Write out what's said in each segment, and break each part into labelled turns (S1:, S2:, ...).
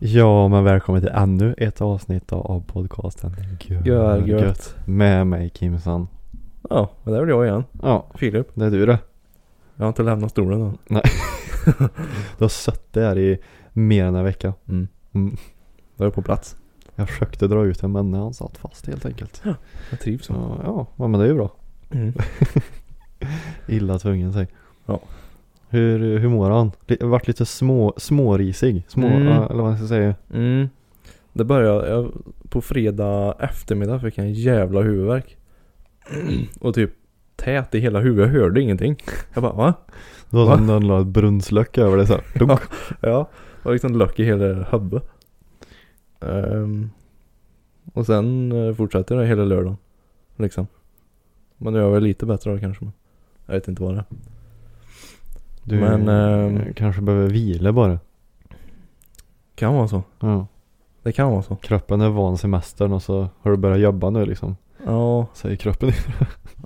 S1: Ja, men välkommen till ännu ett avsnitt av- av podcasten
S2: Gör gött.
S1: Med mig Kimson.
S2: Ja, men där är väl jag igen.
S1: Ja,
S2: Filip.
S1: det är du det.
S2: Jag har inte lämnat stolen än.
S1: Du har suttit där i mer än en vecka.
S2: Mm.
S1: Mm.
S2: Då är jag på plats.
S1: Jag försökte dra ut en men han satt fast helt enkelt.
S2: Jag trivs.
S1: Så ja, ja, men det är ju bra.
S2: Mm.
S1: Illa tvungen sig.
S2: Ja.
S1: Hur, hur mår han? Det har varit lite små, smårisig. Små,
S2: Mm.
S1: ja, eller vad man ska säga.
S2: Mm. Det började jag, på fredag eftermiddag fick jag en jävla huvudvärk. Och typ tät i hela huvudet, jag hörde ingenting. Jag bara va?
S1: Det var
S2: Va?
S1: som någon la ett brunnslöck över det så här. Dunk.
S2: Ja. Ja, och liksom lök i hela huvudet. Ehm, och sen eh, fortsatte det hela lördagen. Liksom. Men nu är jag väl lite bättre då kanske. Men jag vet inte vad det är.
S1: Du
S2: Men,
S1: eh,
S2: ehm,
S1: kanske behöver vila bara.
S2: Kan vara så.
S1: Ja.
S2: Det kan vara så.
S1: Kroppen är van semestern och så har du börjat jobba nu liksom.
S2: Ja.
S1: Säger kroppen.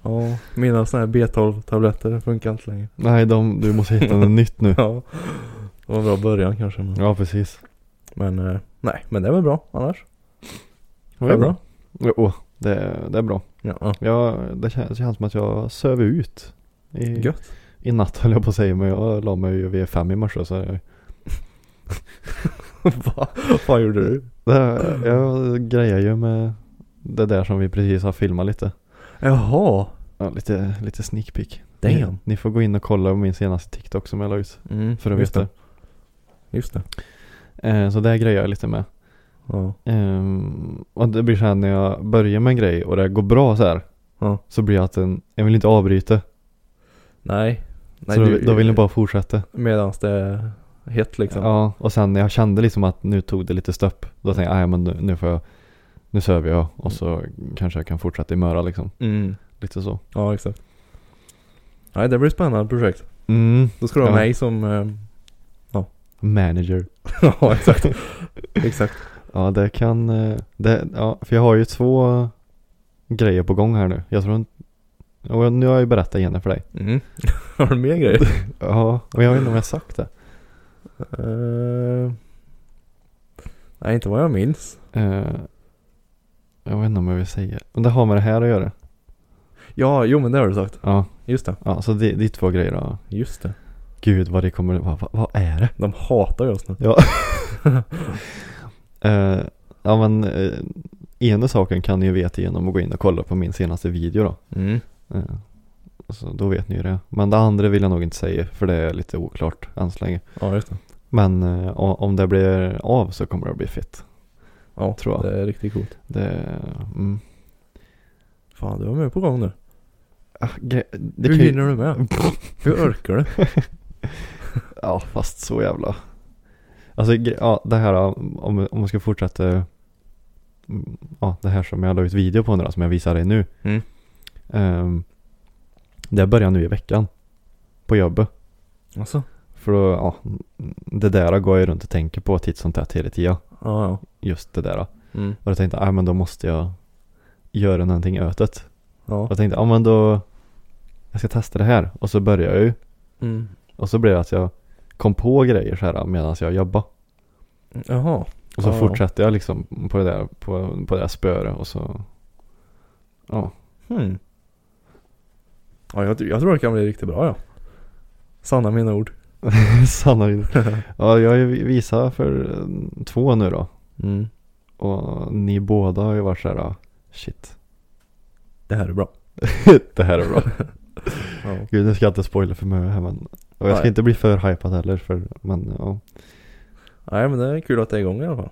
S2: Ja, mina såna här B12-tabletter funkar inte längre.
S1: Nej, de, du måste hitta något nytt nu.
S2: Ja, det var en bra början kanske. Men,
S1: Ja, precis.
S2: men eh, nej, men det är väl bra annars.
S1: Det Jo, det, är- det är bra.
S2: Ja, ja.
S1: Jag, det känns, känns som att jag söver ut. I,
S2: Gött.
S1: I natt höll jag på att säga, men jag la mig ju vid fem i morse. Så jag,
S2: Va? Vad gjorde du?
S1: det, jag grejer ju med det där som vi precis har filmat lite.
S2: Jaha.
S1: Ja, lite, lite sneak peek. Ni,
S2: Damn.
S1: ni får gå in och kolla på min senaste TikTok som jag la ut.
S2: Mm,
S1: För att
S2: just
S1: veta.
S2: Det. Just det.
S1: Eh, så det grejer jag lite med.
S2: Ja.
S1: Ehm, och det blir så här när jag börjar med en grej och det går bra så här.
S2: Ja.
S1: Så blir jag att en, jag vill inte avbryta.
S2: Nej. nej
S1: så då, då vill jag bara fortsätta.
S2: Medans det är hett liksom.
S1: Ja, och sen när jag kände liksom att nu tog det lite stopp. Då tänkte jag, nej men nu, nu får jag, nu söver jag och så kanske jag kan fortsätta i Möra liksom.
S2: Mm.
S1: Lite så.
S2: Ja, exakt. Nej, det blir ett spännande projekt.
S1: Mm.
S2: Då ska du ha
S1: Ja.
S2: mig som... eh,
S1: Manager.
S2: ja, exakt. exakt.
S1: Ja, det kan, eh, det, ja, för jag har ju två grejer på gång här nu. Jag tror inte, och nu har jag ju berättat igen för dig.
S2: Mm. Har du mer grejer?
S1: Ja, och jag vet inte om jag har sagt det.
S2: Eh, nej, inte vad jag minns.
S1: Eh, jag vet inte om jag vill säga. Men det har med det här att göra.
S2: Ja, jo men det har du sagt.
S1: Ja,
S2: Just det.
S1: ja så det, det är två grejer då.
S2: Just det.
S1: Gud vad det kommer, vad, vad, vad är det?
S2: De hatar ju oss nu.
S1: Ja. Eh, ja men eh, ena saken kan ni ju veta genom att gå in och kolla på min senaste video då.
S2: Mm.
S1: Eh, så då vet ni ju det. Men det andra vill jag nog inte säga för det är lite oklart än så länge.
S2: Ja, just det.
S1: Men eh, o- om det blir av så kommer det att bli fett.
S2: Ja,
S1: Tror jag.
S2: det är riktigt coolt.
S1: Det, mm.
S2: Fan, du var med på gång nu.
S1: Ah, gre- det
S2: Hur
S1: kan ju-
S2: hinner du med? Hur orkar du?
S1: Ja, fast så jävla. Alltså, gre- ja, det här om, om man ska fortsätta. mm, Ja, det här som jag la ut video på nu då, som jag visar dig nu.
S2: Mm.
S1: Ehm, det börjar nu i veckan. På jobbet.
S2: Alltså?
S1: För då, ja, det där går jag runt och tänker på titt som tätt hela tiden.
S2: Ja, ja.
S1: Just det där. Och
S2: Mm.
S1: då tänkte jag, ah, men då måste jag göra någonting åt det. Och
S2: Ja.
S1: jag tänkte, ja ah, men då, jag ska testa det här. Och så började jag ju.
S2: Mm.
S1: Och så blev det att jag kom på grejer så här medan jag jobbade.
S2: Jaha.
S1: Och så
S2: Ja.
S1: fortsatte jag liksom på det där, på, på det där spöret och så Ja,
S2: Hmm. Ja, jag, jag tror det kan bli riktigt bra ja. Sanna mina ord.
S1: sanna in. Ja, jag har ju visat för eh, två nu då
S2: Mm.
S1: Och ni båda har ju varit såhär, ah, shit
S2: Det här är bra.
S1: Det här är bra
S2: Ja.
S1: Gud nu ska jag inte spoila för mycket här men Och jag ska
S2: Nej.
S1: inte bli för hypad heller för, men ja
S2: Nej, men det är kul att det är igång i alla fall.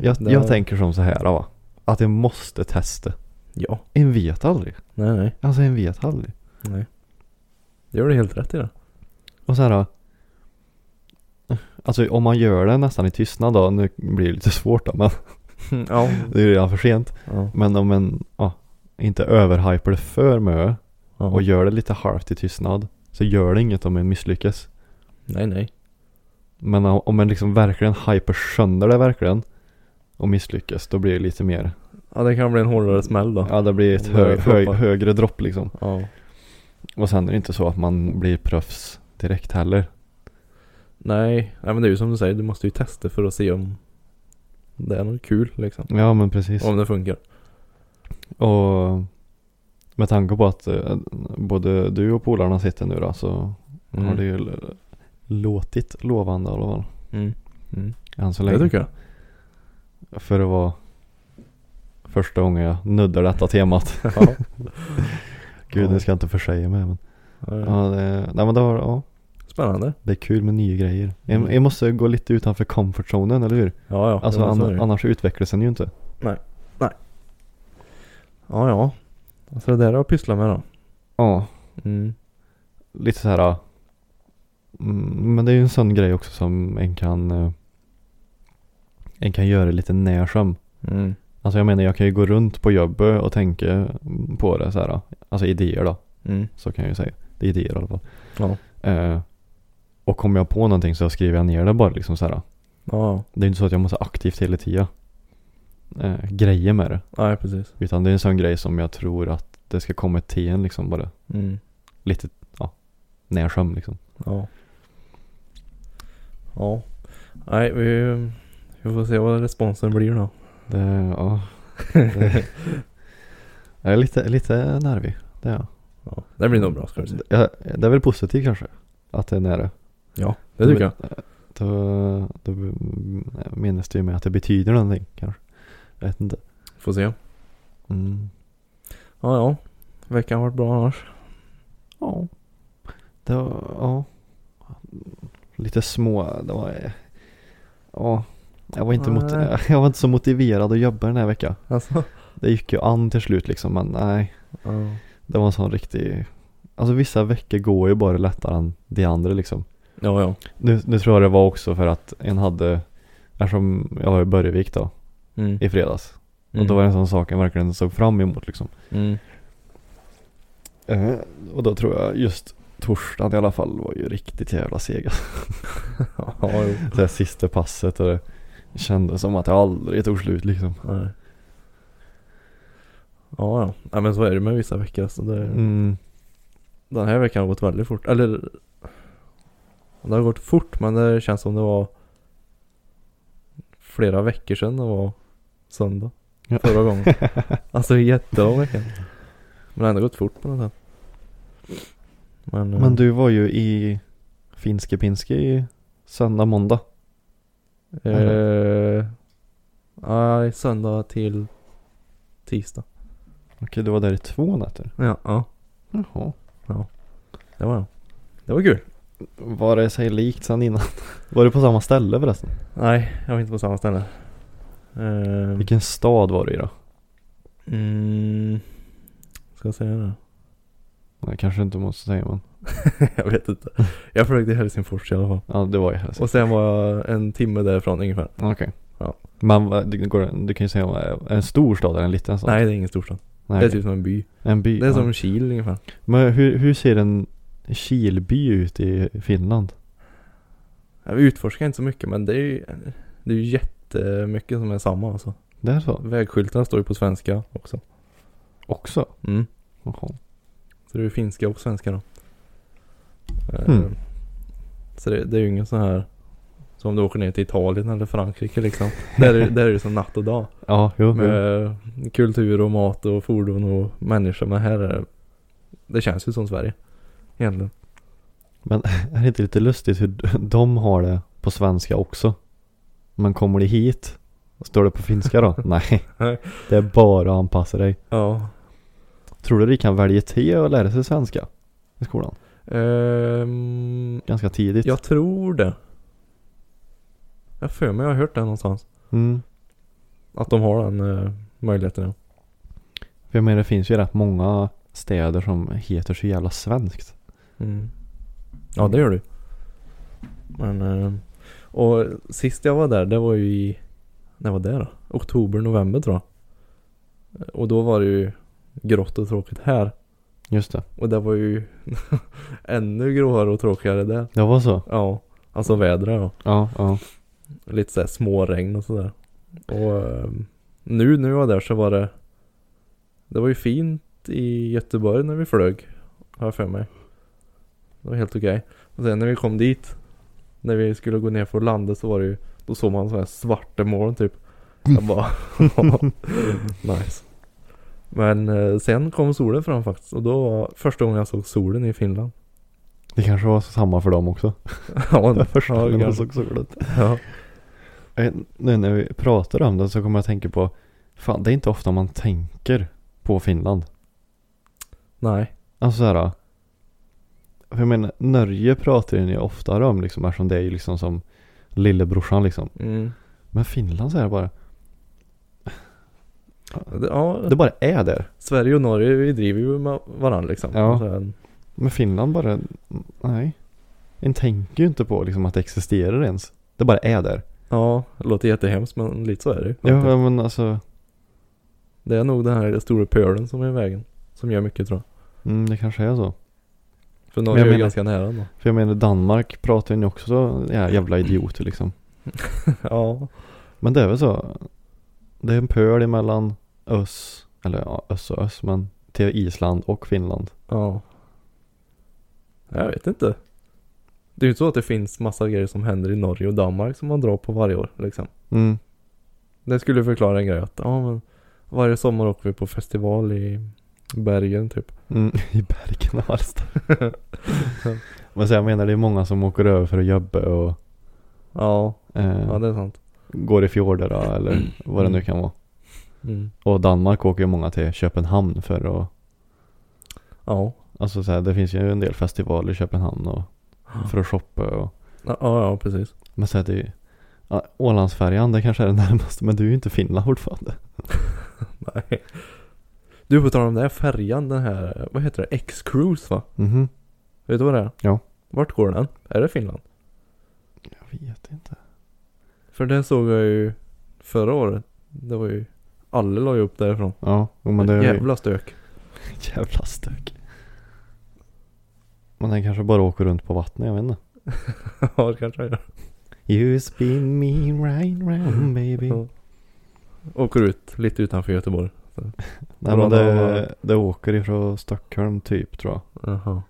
S1: Jag,
S2: Det-
S1: jag tänker som så här va Att jag måste testa
S2: Ja.
S1: En vet aldrig
S2: Nej, nej.
S1: Alltså en vet aldrig
S2: Nej. Det gör du helt rätt i det.
S1: Och så här. eh, Alltså om man gör det nästan i tystnad då, nu blir det lite svårt då men
S2: Mm, Ja.
S1: det är ju redan för sent.
S2: ja.
S1: Men om en, ja, inte överhypar det för mycket
S2: ja.
S1: och gör det lite halvt i tystnad så gör det inget om en misslyckas.
S2: Nej, nej.
S1: Men om om en liksom verkligen hyper sönder det verkligen och misslyckas då blir det lite mer,
S2: Ja, det kan bli en hårdare smäll då.
S1: ja det blir ett
S2: Om det
S1: hö, hö,
S2: droppar.
S1: högre dropp liksom.
S2: Ja.
S1: Och sen är det inte så att man blir proffs direkt heller.
S2: Nej, nej men det är ju som du säger, du måste ju testa för att se om det är något kul liksom.
S1: Ja men precis.
S2: Om det funkar.
S1: Och med tanke på att eh, både du och polarna sitter nu då så har det ju l- låtit lovande i alla fall.
S2: Mm. Mm.
S1: Än så
S2: Det
S1: länge.
S2: tycker jag.
S1: För att vara första gången jag nuddar detta temat.
S2: Ja.
S1: Gud,
S2: Ja.
S1: nu ska jag inte försäga mig men.
S2: Ja.
S1: Ja, det, nej men det, har, ja,
S2: Spännande.
S1: det är kul med nya grejer. Jag,
S2: Mm.
S1: jag måste gå lite utanför comfortzonen, eller hur?
S2: Ja, ja.
S1: Alltså
S2: Jo, men så är det
S1: an,
S2: ju.
S1: annars utvecklas den ju inte.
S2: Ja, ja. Alltså det där har jag pysslat med då.
S1: Ja,
S2: Mm.
S1: lite så här. ja. Mm, men det är ju en sån grej också som en kan eh, en kan göra lite när som.
S2: Mm.
S1: Alltså jag menar jag kan ju gå runt på jobbet och tänka på det så här. ja. Alltså idéer då,
S2: Mm.
S1: så kan jag ju säga. Det är idéer i alla fall.
S2: Ja.
S1: Eh, och kommer jag på någonting så skriver jag ner det bara liksom så här. ja.
S2: Ja,
S1: Det är inte så att jag måste aktivt hela tiden eh, grejer med det.
S2: ja. Nej, precis.
S1: Utan det är en sån grej som jag tror att det ska komma till en liksom bara
S2: Mm.
S1: lite, ja, när som liksom.
S2: Ja. Ja. Nej, vi, vi får se vad responsen blir då.
S1: Det, ja. Det, jag är lite, lite nervig, det är jag.
S2: Ja. Det blir nog bra ska du se.
S1: Det- jag. Det är väl positivt kanske, att det är nära.
S2: Ja, det tycker jag.
S1: Då, då minns det ju med att det betyder någonting kanske. Jag vet inte.
S2: Får se. Ja,
S1: Mm.
S2: ja. Veckan har varit bra annars.
S1: Ja. Det var, ja. Lite små, det var, ja. Jag var, inte mot,
S2: Nej.
S1: jag var inte så motiverad att jobba den här veckan.
S2: Alltså.
S1: Det gick ju an till slut liksom men nej.
S2: Ja.
S1: Det var en sån riktig, alltså vissa veckor går ju bara lättare än de andra liksom.
S2: Ja, ja.
S1: Nu, nu tror jag det var också för att en hade, eftersom jag var i Börjevik då,
S2: Mm.
S1: i fredags.
S2: Mm.
S1: Och då var det en sån sak jag verkligen såg fram emot liksom.
S2: Mm.
S1: Eh, Och då tror jag just torsdagen i alla fall var ju riktigt jävla seg alltså.
S2: Ja, jo.
S1: Det här sista passet och det kändes som att jag aldrig tog slut liksom.
S2: Nej. Ja, ja. Nej, men så är det med vissa veckor. Alltså det,
S1: Mm,
S2: Den här veckan har gått väldigt fort. Eller... Det har gått fort men det känns som det var flera veckor sedan det var söndag.
S1: Ja.
S2: Förra gången. alltså det är jättelång vecka. Men det har ändå gått fort på något sätt. Men, eh,
S1: Men du var ju i Finske Pinske i söndag, måndag.
S2: Eh, nej, söndag till tisdag.
S1: Okej, du var där i två nätter.
S2: Ja, ja.
S1: Jaha.
S2: Det var jag. Det var kul.
S1: Var det sig likt sen innan? Var du på samma ställe förresten?
S2: Nej, jag var inte på samma ställe. Ehm,
S1: Vilken stad var du i då?
S2: mm, ska jag säga det?
S1: Nej, kanske inte måste säga men.
S2: jag vet inte. Jag försökte i Helsingfors i alla fall.
S1: Ja, det var ju Helsingfors.
S2: Och sen var jag en timme därifrån ungefär.
S1: Okej.
S2: Ja.
S1: Men vad- det går, du kan ju säga om det är en stor stad eller en liten stad.
S2: Nej, det är ingen storstad.
S1: Nej,
S2: Det är
S1: okej.
S2: typ som en by.
S1: En by.
S2: Det är
S1: ja.
S2: som Kil ungefär.
S1: Men hur, hur ser en kilby ut i Finland?
S2: Ja, Vi utforskar inte så mycket men det är ju, det är ju jättemycket som är samma alltså.
S1: Det är så?
S2: Vägskyltarna står ju på svenska också.
S1: Också?
S2: Mm.
S1: Jaha.
S2: Så det är ju finska och svenska då.
S1: Hmm.
S2: Ehm, Så det, det är ju ingen sån här som om du åker ner till Italien eller Frankrike liksom. Där är, där är det som natt och dag.
S1: Ja, jo. jo.
S2: Med kultur och mat och fordon och människor. Men här är det känns ju som Sverige. Egentligen.
S1: Är det inte lite lustigt hur de har det på svenska också? Men kommer de hit, står det på finska då? Nej.
S2: Nej.
S1: Det är bara att anpassa dig.
S2: Ja.
S1: Tror du de kan välja te och lära sig svenska i skolan?
S2: Ehm,
S1: Ganska tidigt.
S2: jag tror det. Jag har för mig jag har hört det någonstans.
S1: Mm.
S2: Att de har den eh, möjligheten. Ja.
S1: För jag menar det finns ju rätt många städer som heter så jävla svenskt.
S2: Mm. Ja, det gör du. Men... Eh, Och sist jag var där, det var ju i, när var det då? Oktober, november tror jag. Och då var det ju grått och tråkigt här.
S1: Just det.
S2: Och det var ju ännu gråare och tråkigare där.
S1: Det var så?
S2: Ja, alltså vädret då.
S1: Ja, ja.
S2: Lite såhär småregn och sådär. Och eh, nu när jag var där så var det Det var ju fint i Göteborg när vi flög Har jag för mig Det var helt okej Och sen när vi kom dit När vi skulle gå ner för att landa så var det ju Då såg man sådana här svarta moln typ Jag bara Nice Men eh, sen kom solen fram faktiskt och då var första gången jag såg solen i Finland
S1: Det kanske var samma för dem också.
S2: Ja,
S1: Det första
S2: ja,
S1: gången de
S2: kanske.
S1: såg solen.
S2: ja.
S1: Eh, Nu när vi pratar om det så kommer jag att tänka på, fan det är inte ofta man tänker på Finland.
S2: Nej,
S1: Alltså såhär, för jag menar Norge pratar ju ni oftare om liksom eftersom det är ju liksom som lillebrorsan liksom.
S2: mm.
S1: Men Finland så är det bara,
S2: ja,
S1: det bara är där.
S2: Sverige och Norge vi driver ju med varandra liksom.
S1: Ja.
S2: Så här,
S1: Men Finland bara, nej. En tänker ju inte på liksom att det existerar ens. Det bara är där.
S2: ja, det låter jättehemskt men lite så är det ju.
S1: Ja men alltså,
S2: Det är nog den här stora pölen som är i vägen. Som gör mycket tror jag.
S1: mm, det kanske är så.
S2: För
S1: Men
S2: Norge
S1: jag
S2: är ju
S1: menar-
S2: ganska nära då.
S1: För jag menar Danmark pratar ju också ja, jävla idioter liksom.
S2: ja.
S1: Men det är väl så. Det är en pöl emellan ös, eller ja, ös och ös men till Island och Finland.
S2: ja. Jag vet inte. Det är ju inte så att det finns massa grejer som händer i Norge och Danmark som man drar på varje år liksom.
S1: Mm.
S2: Det skulle förklara en grej att ja men varje sommar åker vi på festival i Bergen typ.
S1: Mm, I Bergen och Hallsta. Men så jag menar det är många som åker över för att jobba och
S2: Ja,
S1: eh,
S2: ja det är sant.
S1: går i fjorder då, eller vad det nu kan vara.
S2: Mm.
S1: Och Danmark åker ju många till Köpenhamn för att,
S2: Ja.
S1: alltså så här, det finns ju en del festivaler i Köpenhamn och för att shoppa och,
S2: Ja, ja precis.
S1: men så här, det är ju, ja, Ålandsfärjan det kanske är det närmaste men du är ju inte i Finland fortfarande.
S2: Nej. Du, på tal om den här färjan, den här, vad heter det? X-Cruise va?
S1: Mhm.
S2: Vet du vad det är?
S1: Ja.
S2: Vart går den? Är det Finland?
S1: Jag vet inte.
S2: För det såg jag ju förra året. Det var ju, alla la ju upp därifrån.
S1: Ja, jo, men det är ju
S2: Jävla stök.
S1: jävla stök. Men den kanske bara åker runt på vattnet, jag vet inte.
S2: ja, det kanske jag gör.
S1: You spin me right round baby.
S2: Mm. Ja. Åker ut lite utanför Göteborg.
S1: Nej men det, det åker ifrån Stockholm typ tror jag.
S2: Jaha.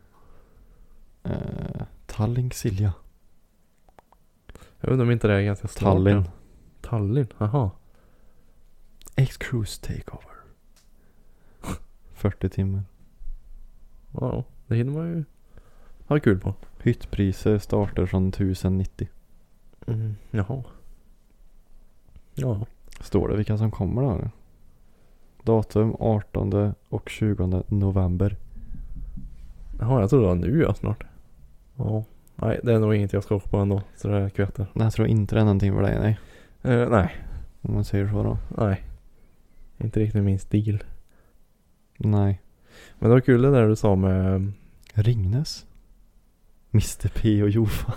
S1: Eh, Tallink Silja.
S2: Jag undrar om inte det är ganska snart.
S1: Tallinn.
S2: ja. Tallinn, jaha.
S1: X-Cruise Takeover. 40 timmar.
S2: Ja, det hinner man ju ha kul på.
S1: Hyttpriser startar från 1090.
S2: Mm. Jaha. Ja.
S1: Står det vilka som kommer då? eller? Datum 18 och 20 november.
S2: Jaha, jag trodde det var nu ja, snart. Ja. Nej, det är nog inget jag ska åka på ändå. Så det kvetter.
S1: Nej jag tror inte det är någonting för dig nej.
S2: Eh, nej,
S1: Om man säger så då.
S2: nej. Inte riktigt min stil.
S1: Nej.
S2: Men det var kul det där du sa med...
S1: Ringnes? Mr P och Jofa.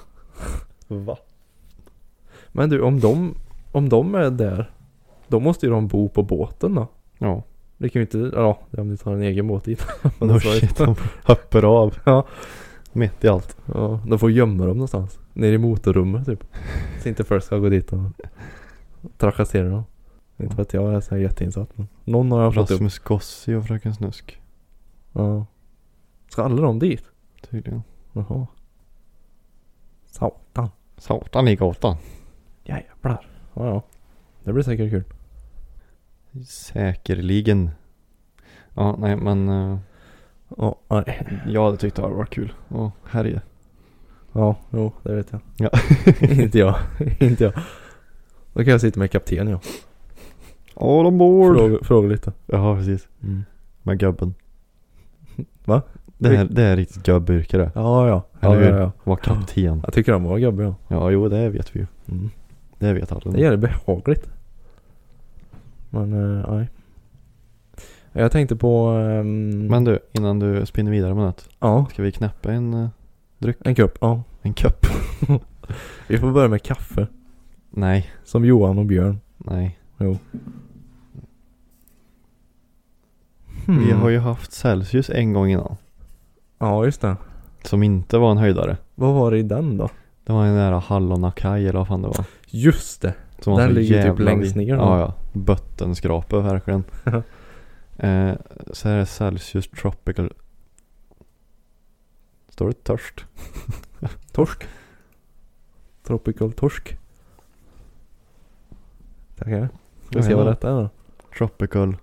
S2: Va? Men du, om de, om de är där. Då måste ju de bo på båten då.
S1: Ja.
S2: Det kan ju inte... Ja, om du tar en egen båt dit. Men
S1: No
S2: så är det-
S1: shit, de hoppar av.
S2: Ja.
S1: Mitt i allt.
S2: Ja, de får gömma dem någonstans. Nere i motorrummet typ. Så inte folk ska gå dit och trakassera dem. Inte för att jag är så här jätteinsatt men någon har jag fått upp.
S1: Rasmus Gossi och Fröken Snusk.
S2: Ja. Ska alla de dit?
S1: Tydligen.
S2: Jaha. Satan.
S1: Satan i gatan.
S2: Jävlar. Ja, ja. Det blir säkert kul.
S1: Säkerligen. Ja, nej men eh,
S2: Ja, nej.
S1: jag hade tyckt det hade varit kul. Och härje.
S2: Ja, jo, det vet jag.
S1: Ja.
S2: inte jag. inte jag. Då kan jag sitta med kapten jag.
S1: All on board!
S2: Fråga, fråga lite.
S1: Ja, precis.
S2: Mm.
S1: Med gubben.
S2: Va?
S1: Det här, det här är riktigt gubbyrke det.
S2: Ja, ja.
S1: Eller
S2: Ja,
S1: hur?
S2: ja, ja.
S1: Var kapten.
S2: Jag tycker de var gubbiga. ja.
S1: Ja, jo det vet vi ju.
S2: Mm.
S1: Det vet alla.
S2: Det är jävligt behagligt. Men, eh, nej. Jag tänkte på... ehm,
S1: Men du, innan du spinner vidare med något.
S2: Ja,
S1: Ska vi knäppa en, eh,
S2: en kupp. Ja.
S1: en kopp?
S2: Vi får börja med kaffe.
S1: Nej,
S2: Som Johan och Björn.
S1: nej.
S2: Jo. Hmm.
S1: Vi
S2: Mm.
S1: har ju haft Celsius en gång innan.
S2: Ja, just det.
S1: Som inte var en höjdare.
S2: Vad var det i den då?
S1: Det var den där hallonakaj eller vad fan det var.
S2: Just det.
S1: Som var
S2: Den
S1: så
S2: ligger typ
S1: jävla
S2: längst
S1: vid-
S2: ner då.
S1: Ja, ja. Bottenskrapa verkligen. eh, så här är Celsius Tropical. Står det törst?
S2: Torsk. Tropical torsk. Tackar. Ska vi se vad detta är då.
S1: Tropical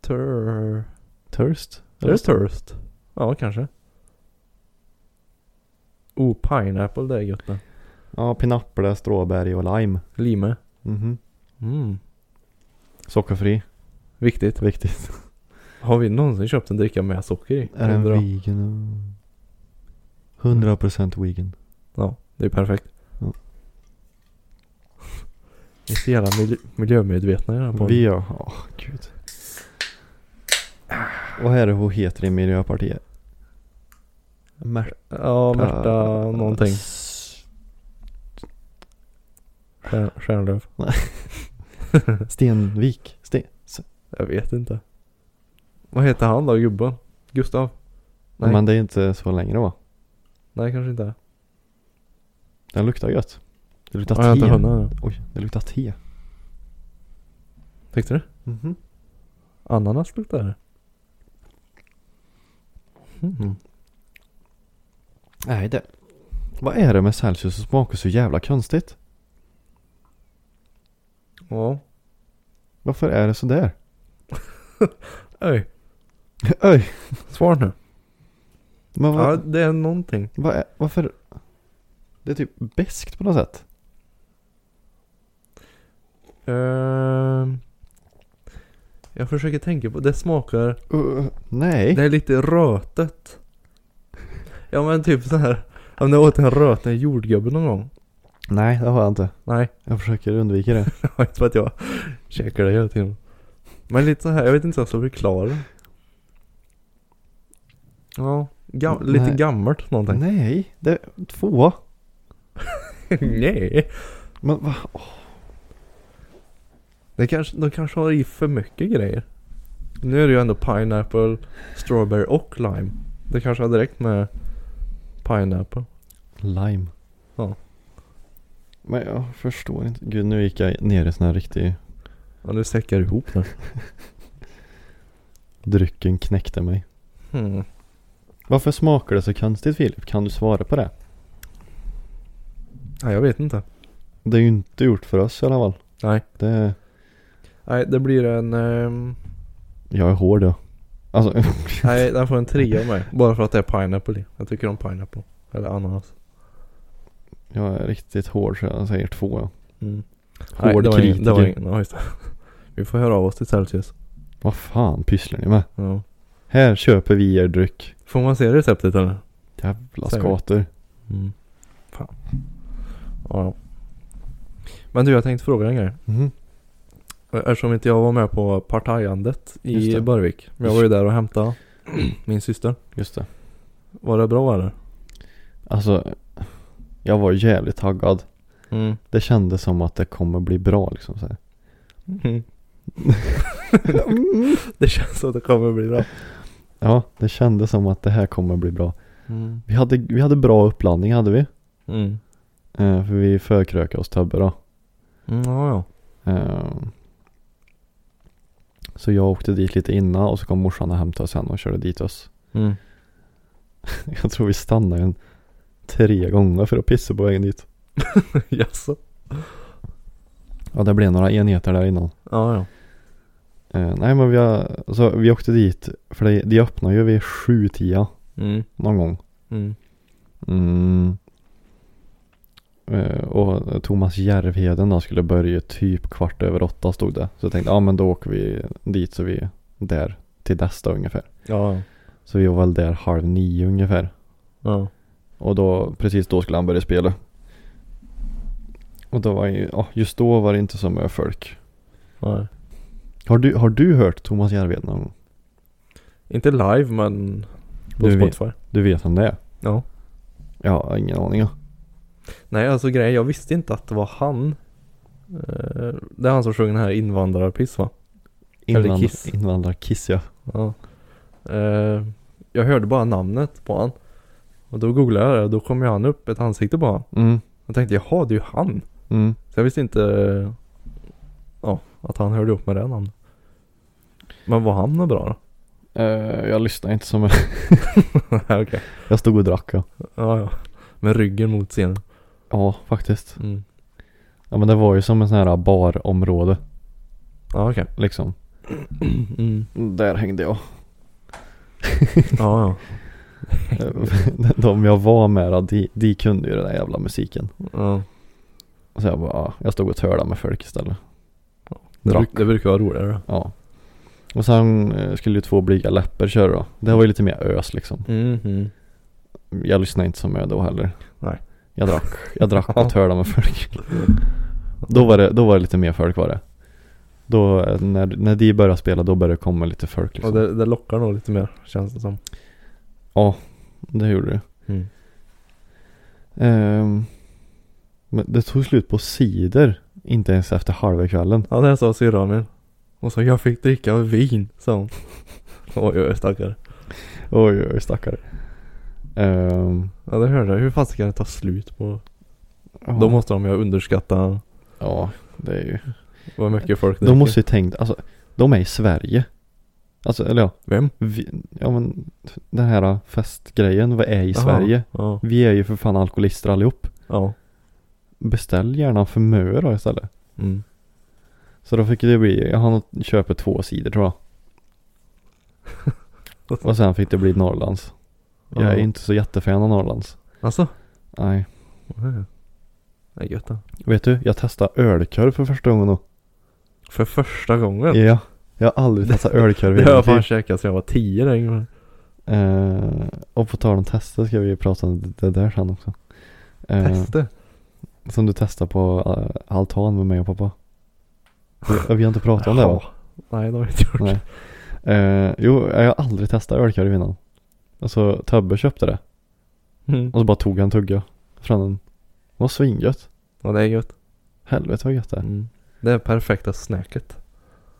S2: Tur...
S1: Thirst?
S2: Är det Thirst? Ja, kanske. Oh, pineapple det är gött det.
S1: Ja, pinapple, stråbär och lime.
S2: Lime.
S1: Mhm.
S2: Mm.
S1: Sockerfri,
S2: Viktigt.
S1: viktigt.
S2: Har vi någonsin köpt en dricka med socker i?
S1: Är den
S2: Bra.
S1: vegan? 100% vegan.
S2: Ja, det är perfekt.
S1: Ja.
S2: Vi är så jävla mil- miljömedvetna i den här podden.
S1: Vi gör, åh gud. Vad är det hon heter i Miljöpartiet? Märta
S2: Ja, Märta någonting.
S1: S-
S2: Stjär- Stjärnlöf.
S1: Stenvik? Sten... S-
S2: Jag vet inte. Vad heter han då, gubben? Gustav? Nej.
S1: Men det är inte så längre va?
S2: Nej, kanske inte.
S1: Den luktar gött. Det luktar
S2: Ja, jag har inte
S1: te.
S2: hunnit än.
S1: Oj, det luktar te.
S2: Tyckte du?
S1: Mhm.
S2: Ananas luktar det. Mm.
S1: Nej det. Vad är det med Celsius som smakar så jävla konstigt?
S2: Ja.
S1: Varför är det sådär?
S2: Öj,
S1: Oj!
S2: svar nu.
S1: Men vad,
S2: Ja, det är någonting.
S1: vad är, varför? Det är typ beskt på något sätt.
S2: Ehm, jag försöker tänka på, det smakar,
S1: Uh, nej.
S2: det är lite rötet. Ja men typ så här. om jag åt en röten jordgubbe någon gång.
S1: Nej, det har jag inte.
S2: Nej,
S1: Jag försöker undvika det.
S2: inte för att jag käkar det hela tiden. Men lite så här, jag vet inte alltså, hur jag ska förklara det. Ja, gam- lite
S1: Nej.
S2: gammalt någonting.
S1: nej, det är två.
S2: Nej.
S1: Men va?
S2: Det kanske, de kanske har i för mycket grejer. Nu är det ju ändå pineapple, strawberry och lime. Det kanske har direkt med pineapple.
S1: Lime.
S2: Ja.
S1: Men jag förstår inte. Gud, nu gick jag ner i sån här riktig...
S2: Ja, nu säckar det ihop nu.
S1: Drycken knäckte mig.
S2: Hmm.
S1: Varför smakar det så konstigt Filip? Kan du svara på det?
S2: Nej, jag vet inte.
S1: Det är ju inte gjort för oss i alla fall.
S2: Nej.
S1: Det är...
S2: Nej, det blir en... ehm,
S1: Jag är hård ja. Alltså,
S2: nej, den får en trea av mig. Bara för att det är pineapple i. Jag tycker om pineapple. Eller ananas.
S1: jag är riktigt hård så jag säger två ja.
S2: Mm.
S1: Hård
S2: det var ingen- Det var
S1: kritiker.
S2: ingen, ja, just det. Vi får höra av oss till Celsius.
S1: Vad fan pysslar ni med?
S2: Ja.
S1: Här köper vi er dryck.
S2: Får man se receptet eller?
S1: Jävla
S2: Säger vi.
S1: skator.
S2: Mm. Fan. Ja. Men du, jag tänkte fråga en grej.
S1: Mhm.
S2: Eftersom inte jag var med på partajandet
S1: Just
S2: i
S1: det.
S2: Barvik. Men jag var ju där och hämtade min syster.
S1: Just det.
S2: Var det bra eller?
S1: Alltså, jag var jävligt taggad.
S2: Mm.
S1: Det kändes som att det kommer bli bra liksom så här.
S2: Mm. det känns som att det kommer bli bra.
S1: Ja, det kändes som att det här kommer bli bra.
S2: Mm.
S1: Vi hade, vi hade bra uppladdning hade vi.
S2: Mm.
S1: Eh, för vi förkrökade oss Tubbe då.
S2: Mm, ja, ja.
S1: Eh, så jag åkte dit lite innan och så kom morsan och hämtade oss sen och körde dit oss.
S2: Mm.
S1: Jag tror vi stannade en tre gånger för att pissa på vägen dit.
S2: Jaså?
S1: Ja, det blev några enheter där innan.
S2: Ja, ja.
S1: Eh, nej, men vi, har, så vi åkte dit, för det, de öppnar ju vid sju tia
S2: Mm.
S1: någon gång.
S2: Mm.
S1: Mm. Eh, Och Thomas Järvheden då skulle börja typ kvart över åtta stod det. Så jag tänkte, ja men då åker vi dit så vi är där till dess då ungefär.
S2: Ja, ja.
S1: Så vi var väl där halv nio ungefär.
S2: Ja.
S1: Och då, precis då skulle han börja spela. Och då var ju, ja just då var det inte så mycket folk.
S2: Nej.
S1: Har du, har du hört Thomas Järvheden någon gång?
S2: Inte live men på
S1: Du vet.
S2: Spotify.
S1: Du vet vem det är?
S2: Ja.
S1: Jag har ingen aning. ja.
S2: Nej, alltså grejen, jag visste inte att det var han. Eh, Det är han som sjöng den här invandrarpiss va? Eller
S1: Invand-
S2: Kiss.
S1: Invandrarkiss ja.
S2: Ja. Eh, Jag hörde bara namnet på han. Och då googlade jag det och då kom ju han upp, ett ansikte på han.
S1: Mm,
S2: Jag tänkte jaha, det är ju han.
S1: mm.
S2: Så jag visste inte eh, ja, att han hörde ihop med det namnet. Men var han bra då?
S1: Eh, jag lyssnade inte så mycket.
S2: Nej, Okej.
S1: Jag stod och drack ja.
S2: Ja, ja. Med ryggen mot scenen.
S1: Ja, faktiskt.
S2: Mm.
S1: Ja men det var ju som en sån här barområde
S2: Ja, okej.
S1: liksom.
S2: Mm.
S1: Där hängde jag.
S2: Ja,
S1: De jag var med då, de, de kunde ju den där jävla musiken.
S2: ja. ja.
S1: Så jag bara, ja, jag stod och törlade med folk istället.
S2: Det,
S1: Drack.
S2: bruk, det brukar vara roligare.
S1: Ja. Och sen eh, skulle ju två blyga läppar köra då. Det var ju lite mer ös liksom.
S2: Mm.
S1: Jag lyssnade inte så mycket då heller.
S2: Nej.
S1: Jag drack, jag drack och törlade med folk. Då var, det, då var det lite mer folk var det. Då, eh, när, när de började spela då började det komma lite folk
S2: Och
S1: liksom.
S2: det, det lockar nog lite mer känns det som.
S1: Det gjorde det.
S2: Mm.
S1: Ehm, men det tog slut på sidor. Inte ens efter halva kvällen.
S2: Ja, det sa syrran min. Hon sa jag fick dricka vin, sa hon. Oj, oj, stackare.
S1: Oj, oj, stackare. Ehm,
S2: Ja, det hörde jag. Hur fan ska det ta slut på?
S1: ja.
S2: Då måste de ju underskatta
S1: Ja, det är ju.
S2: vad mycket folk
S1: De måste ju tänkt, alltså de är i Sverige. Alltså, eller ja,
S2: Vem?
S1: vi, ja men den här festgrejen, vad är i
S2: Jaha.
S1: Sverige?
S2: Ja.
S1: Vi är ju för fan alkoholister allihop.
S2: Ja.
S1: Beställ gärna för mö då istället.
S2: Mm.
S1: Så då fick det bli, han köper två sidor tror jag. Och sen fick det bli Norrlands. Jag är
S2: Ja.
S1: inte så jättefan av Norrlands.
S2: Alltså?
S1: Nej.
S2: Ja. Det är gött det.
S1: Vet du, jag testade ölkorv för första gången då.
S2: För första gången.
S1: Ja. Jag har aldrig testat ölkorv i
S2: Det har
S1: hela
S2: jag
S1: mitt liv.
S2: fan käkat sedan jag var tio den gången.
S1: Eh, och på tal om tester ska vi ju prata om det där sen också. Eh,
S2: Teste.
S1: Som du testade på eh, altan med mig och pappa. Vi, vi har inte pratat om det va?
S2: Jaha. Nej, det har jag inte gjort.
S1: Nej. Eh, jo, jag har aldrig testat ölkorv innan. Och så Tubbe köpte det.
S2: Mm.
S1: Och så bara tog han en tugga från den. Det var svingött.
S2: Ja, det är gött.
S1: Helvete vad gött det är.
S2: Mm. Det är perfekta snacket.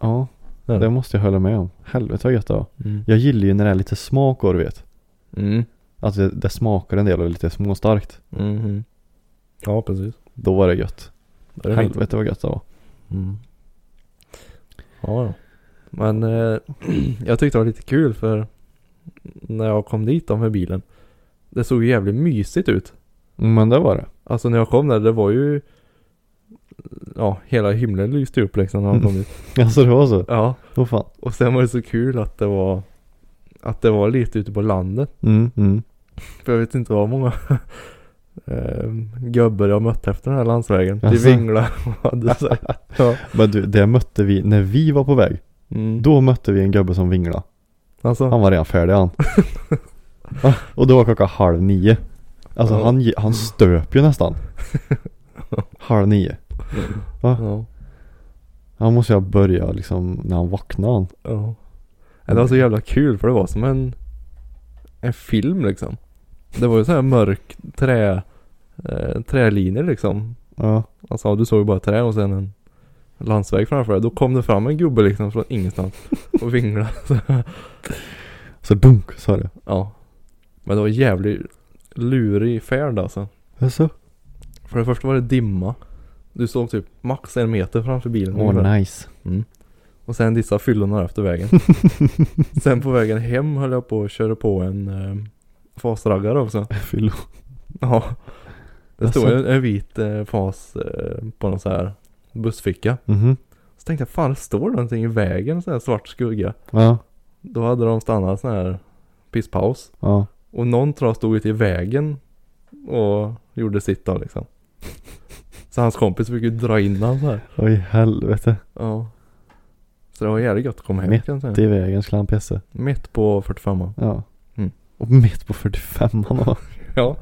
S1: Ja,
S2: Ja.
S1: det måste jag hålla med om. Helvete vad gött det var.
S2: Mm.
S1: Jag gillar ju när det är lite smak och du vet.
S2: Mm.
S1: Att det, det smakar en del och är lite småstarkt.
S2: Mhm. Ja, precis.
S1: Då var det gött.
S2: Det är fint.
S1: Helvete vad gött det var.
S2: Mm. Ja, ja. Men eh, jag tyckte det var lite kul för när jag kom dit då med bilen. Det såg ju jävligt mysigt ut.
S1: Men det var det.
S2: Alltså när jag kom där, det var ju... Ja, hela himlen lyste upp liksom när jag kom dit.
S1: Alltså det var så?
S2: Ja,
S1: Åh fan.
S2: och sen var det så kul att det var... Att det var lite ute på landet.
S1: Mm, mm.
S2: För jag vet inte vad många eh, gubbar jag mött efter den här landsvägen. De
S1: Jaså?
S2: vinglade och hade sig. Ja.
S1: Men du, det mötte vi när vi var på väg.
S2: Mm.
S1: Då mötte vi en gubbe som vinglade. Han
S2: Alltså,
S1: var redan färdig han. Ja, Och då var klockan halv nio. Alltså
S2: Ja.
S1: han, ge- han stöp ju nästan. Halv nio.
S2: ja.
S1: Han måste ju ha börjat liksom när han vaknade han.
S2: ja. Det var så jävla kul för det var som en, en film liksom. Det var ju så här mörk trä, eh, trälinjer liksom.
S1: Ja.
S2: Alltså du såg ju bara trä och sen en landsväg framför dig. Då kom det fram en gubbe liksom från ingenstans och vinglade.
S1: Så dunk sa det.
S2: Ja. Men det var jävligt lurig färd alltså.
S1: Jaså?
S2: För det första var det dimma. Du såg typ max en meter framför bilen.
S1: Åh nice.
S2: Och sen dissa fyllorna efter vägen. sen på vägen hem höll jag på att köra på en eh, fasraggare också.
S1: Fyllo.
S2: Ja. Det stod
S1: Alltså.
S2: en, en vit eh, fas eh, på någon så här bussficka.
S1: Mhm.
S2: Så tänkte jag fan det står någonting i vägen, en sån här svart skugga.
S1: Ja.
S2: Då hade de stannat sån här pisspaus.
S1: Ja.
S2: Och någon tror jag stod ute i vägen och gjorde sitt då liksom. Så hans kompis fick ju dra in han så här.
S1: Oj helvete.
S2: Ja. Så det var jävligt gott att komma hem
S1: Mitt
S2: kan jag säga.
S1: Det är vägens klampjässe.
S2: Mitt på 45
S1: Ja.
S2: Mm.
S1: Och mitt på 45 han var.
S2: Ja.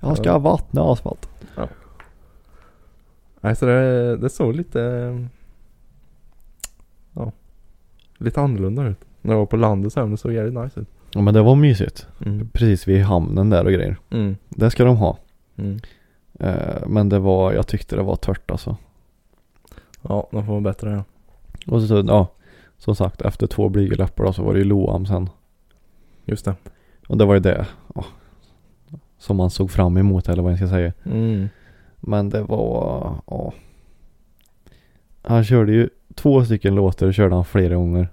S1: Jag ska vattna asfalt.
S2: Nej så det, det såg lite... Ja. Lite annorlunda ut. När jag var på landet så här, men det såg jävligt nice ut.
S1: Ja men det var mysigt.
S2: Mm.
S1: Precis vid hamnen där och grejer.
S2: Mm.
S1: Det ska de ha.
S2: Mm.
S1: Eh, Men det var, jag tyckte det var tört alltså.
S2: Ja, de får vara bättre ja.
S1: Och så, ja, som sagt efter två blygdläppar då så var det ju Loam sen.
S2: Just det.
S1: Och det var ju det ja, som man såg fram emot eller vad jag ska säga.
S2: Mm.
S1: Men det var, ja. Han körde ju två stycken låtar körde han flera gånger.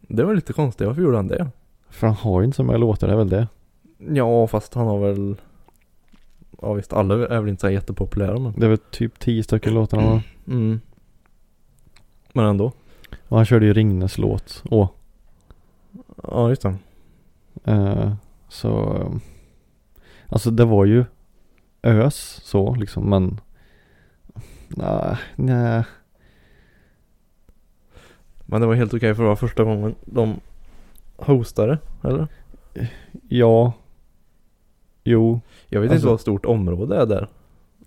S2: Det var lite konstigt, varför gjorde han det?
S1: För han har ju inte så många låtar, det är väl det.
S2: Ja, fast han har väl... Ja visst, alla är väl inte så här jättepopulära men...
S1: Det är väl typ tio stycken låtar han har.
S2: Mm. Men ändå.
S1: Och han körde ju Ringnes låt. Åh.
S2: Ja, just det.
S1: Eh, så, eh, alltså det var ju ös så liksom, men nej, nej.
S2: Men det var helt okej för det var första gången de hostade, eller?
S1: ja, jo,
S2: Jag vet
S1: Alltså-
S2: inte vad stort område är där.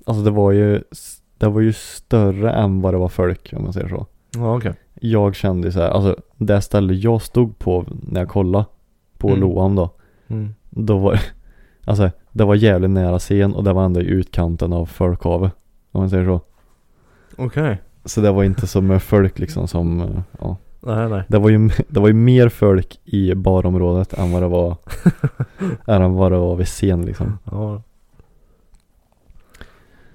S1: alltså det var ju, s- det var ju större än vad det var folk om man säger så.
S2: Ja, okej.
S1: Jag kände ju så här, alltså det stället jag stod på när jag kollade på
S2: Mm.
S1: Loam då,
S2: Mm.
S1: då var alltså det var jävligt nära scen och det var ändå i utkanten av folkhavet om man säger så.
S2: Okej.
S1: Så det var inte så med folk liksom som, eh, ja.
S2: Nej, nej.
S1: Det var ju, det var ju mer folk i barområdet än vad det var, än vad det var vid scen liksom.
S2: Ja.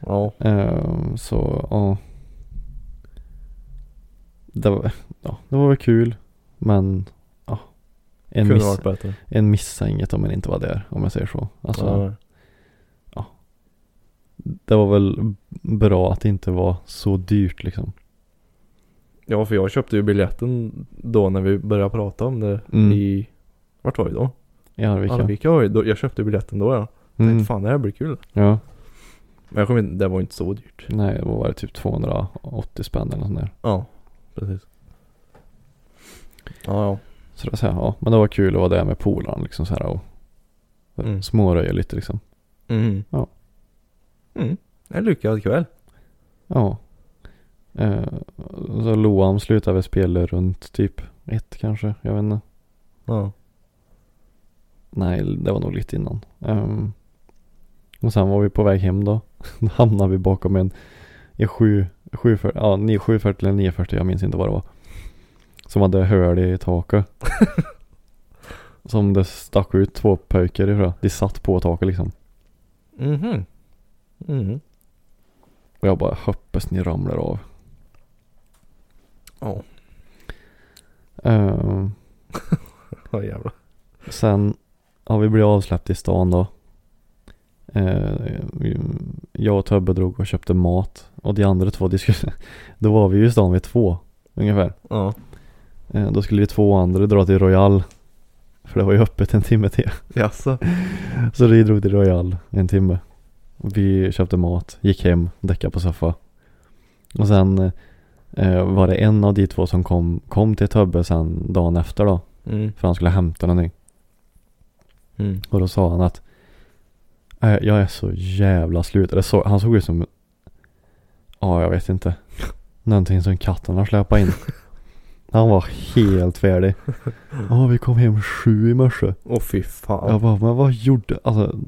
S2: Ja.
S1: Ehm, så, ja. Det var, ja, det var väl kul, men ja. En,
S2: Kunde
S1: miss,
S2: varit bättre.
S1: en missa inget om man inte var där, om jag säger så. Alltså,
S2: Ja, nej.
S1: det var väl bra att det inte var så dyrt liksom.
S2: ja, för jag köpte ju biljetten då när vi började prata om det
S1: Mm.
S2: i... Vart var vi då?
S1: I Arvika.
S2: Arvika var ju då. Jag köpte biljetten då ja.
S1: Mm,
S2: Tänkte fan det här blir kul.
S1: ja,
S2: Men jag kommer inte, det var inte så dyrt.
S1: nej, det var det typ 280 spänn eller något sånt där.
S2: Ja, precis. Ja, ja.
S1: Så det var så här, ja, men det var kul att vara där med polaren liksom så här och
S2: Mm.
S1: småröja lite liksom.
S2: Mm.
S1: Ja.
S2: Mm. En lyckad kväll.
S1: Ja. Eh, så Loam slutade väl spela runt typ ett kanske, jag vet inte.
S2: Ja.
S1: Nej, det var nog lite innan. Ehm, och sen var vi på väg hem då. Då hamnade vi bakom en, en 7, 740, ja 9, 740 eller 940, jag minns inte vad det var. Som hade hål i taket. som det stack ut två pojkar ifrån. De satt på taket liksom.
S2: Mhm. Mhm.
S1: Och jag bara hoppas ni ramlar av.
S2: Ja.
S1: Eh,
S2: Ja jävlar.
S1: sen har vi blivit avsläppt i stan då. Eh, vi- jag och Tobbe drog och köpte mat. Och de andra två, de skulle, då var vi ju i stan vid två ungefär.
S2: Ja.
S1: Eh, då skulle de två andra dra till Royal. För det var ju öppet en timme till.
S2: Jaså?
S1: Så vi drog till Royal en timme. Vi köpte mat, gick hem, däckade på soffa. Och sen eh, var det en av de två som kom, kom till Tobbe sen dagen efter då.
S2: Mm.
S1: För han skulle hämta någonting.
S2: Mm.
S1: Och då sa han att "Nej, jag är så jävla slut. Eller så, han såg ut som, ja jag vet inte. Någonting som katten har släpat in. Han var helt färdig. Ja vi kom hem sju i morse.
S2: Åh fy fan.
S1: Jag bara, men vad gjorde, alltså.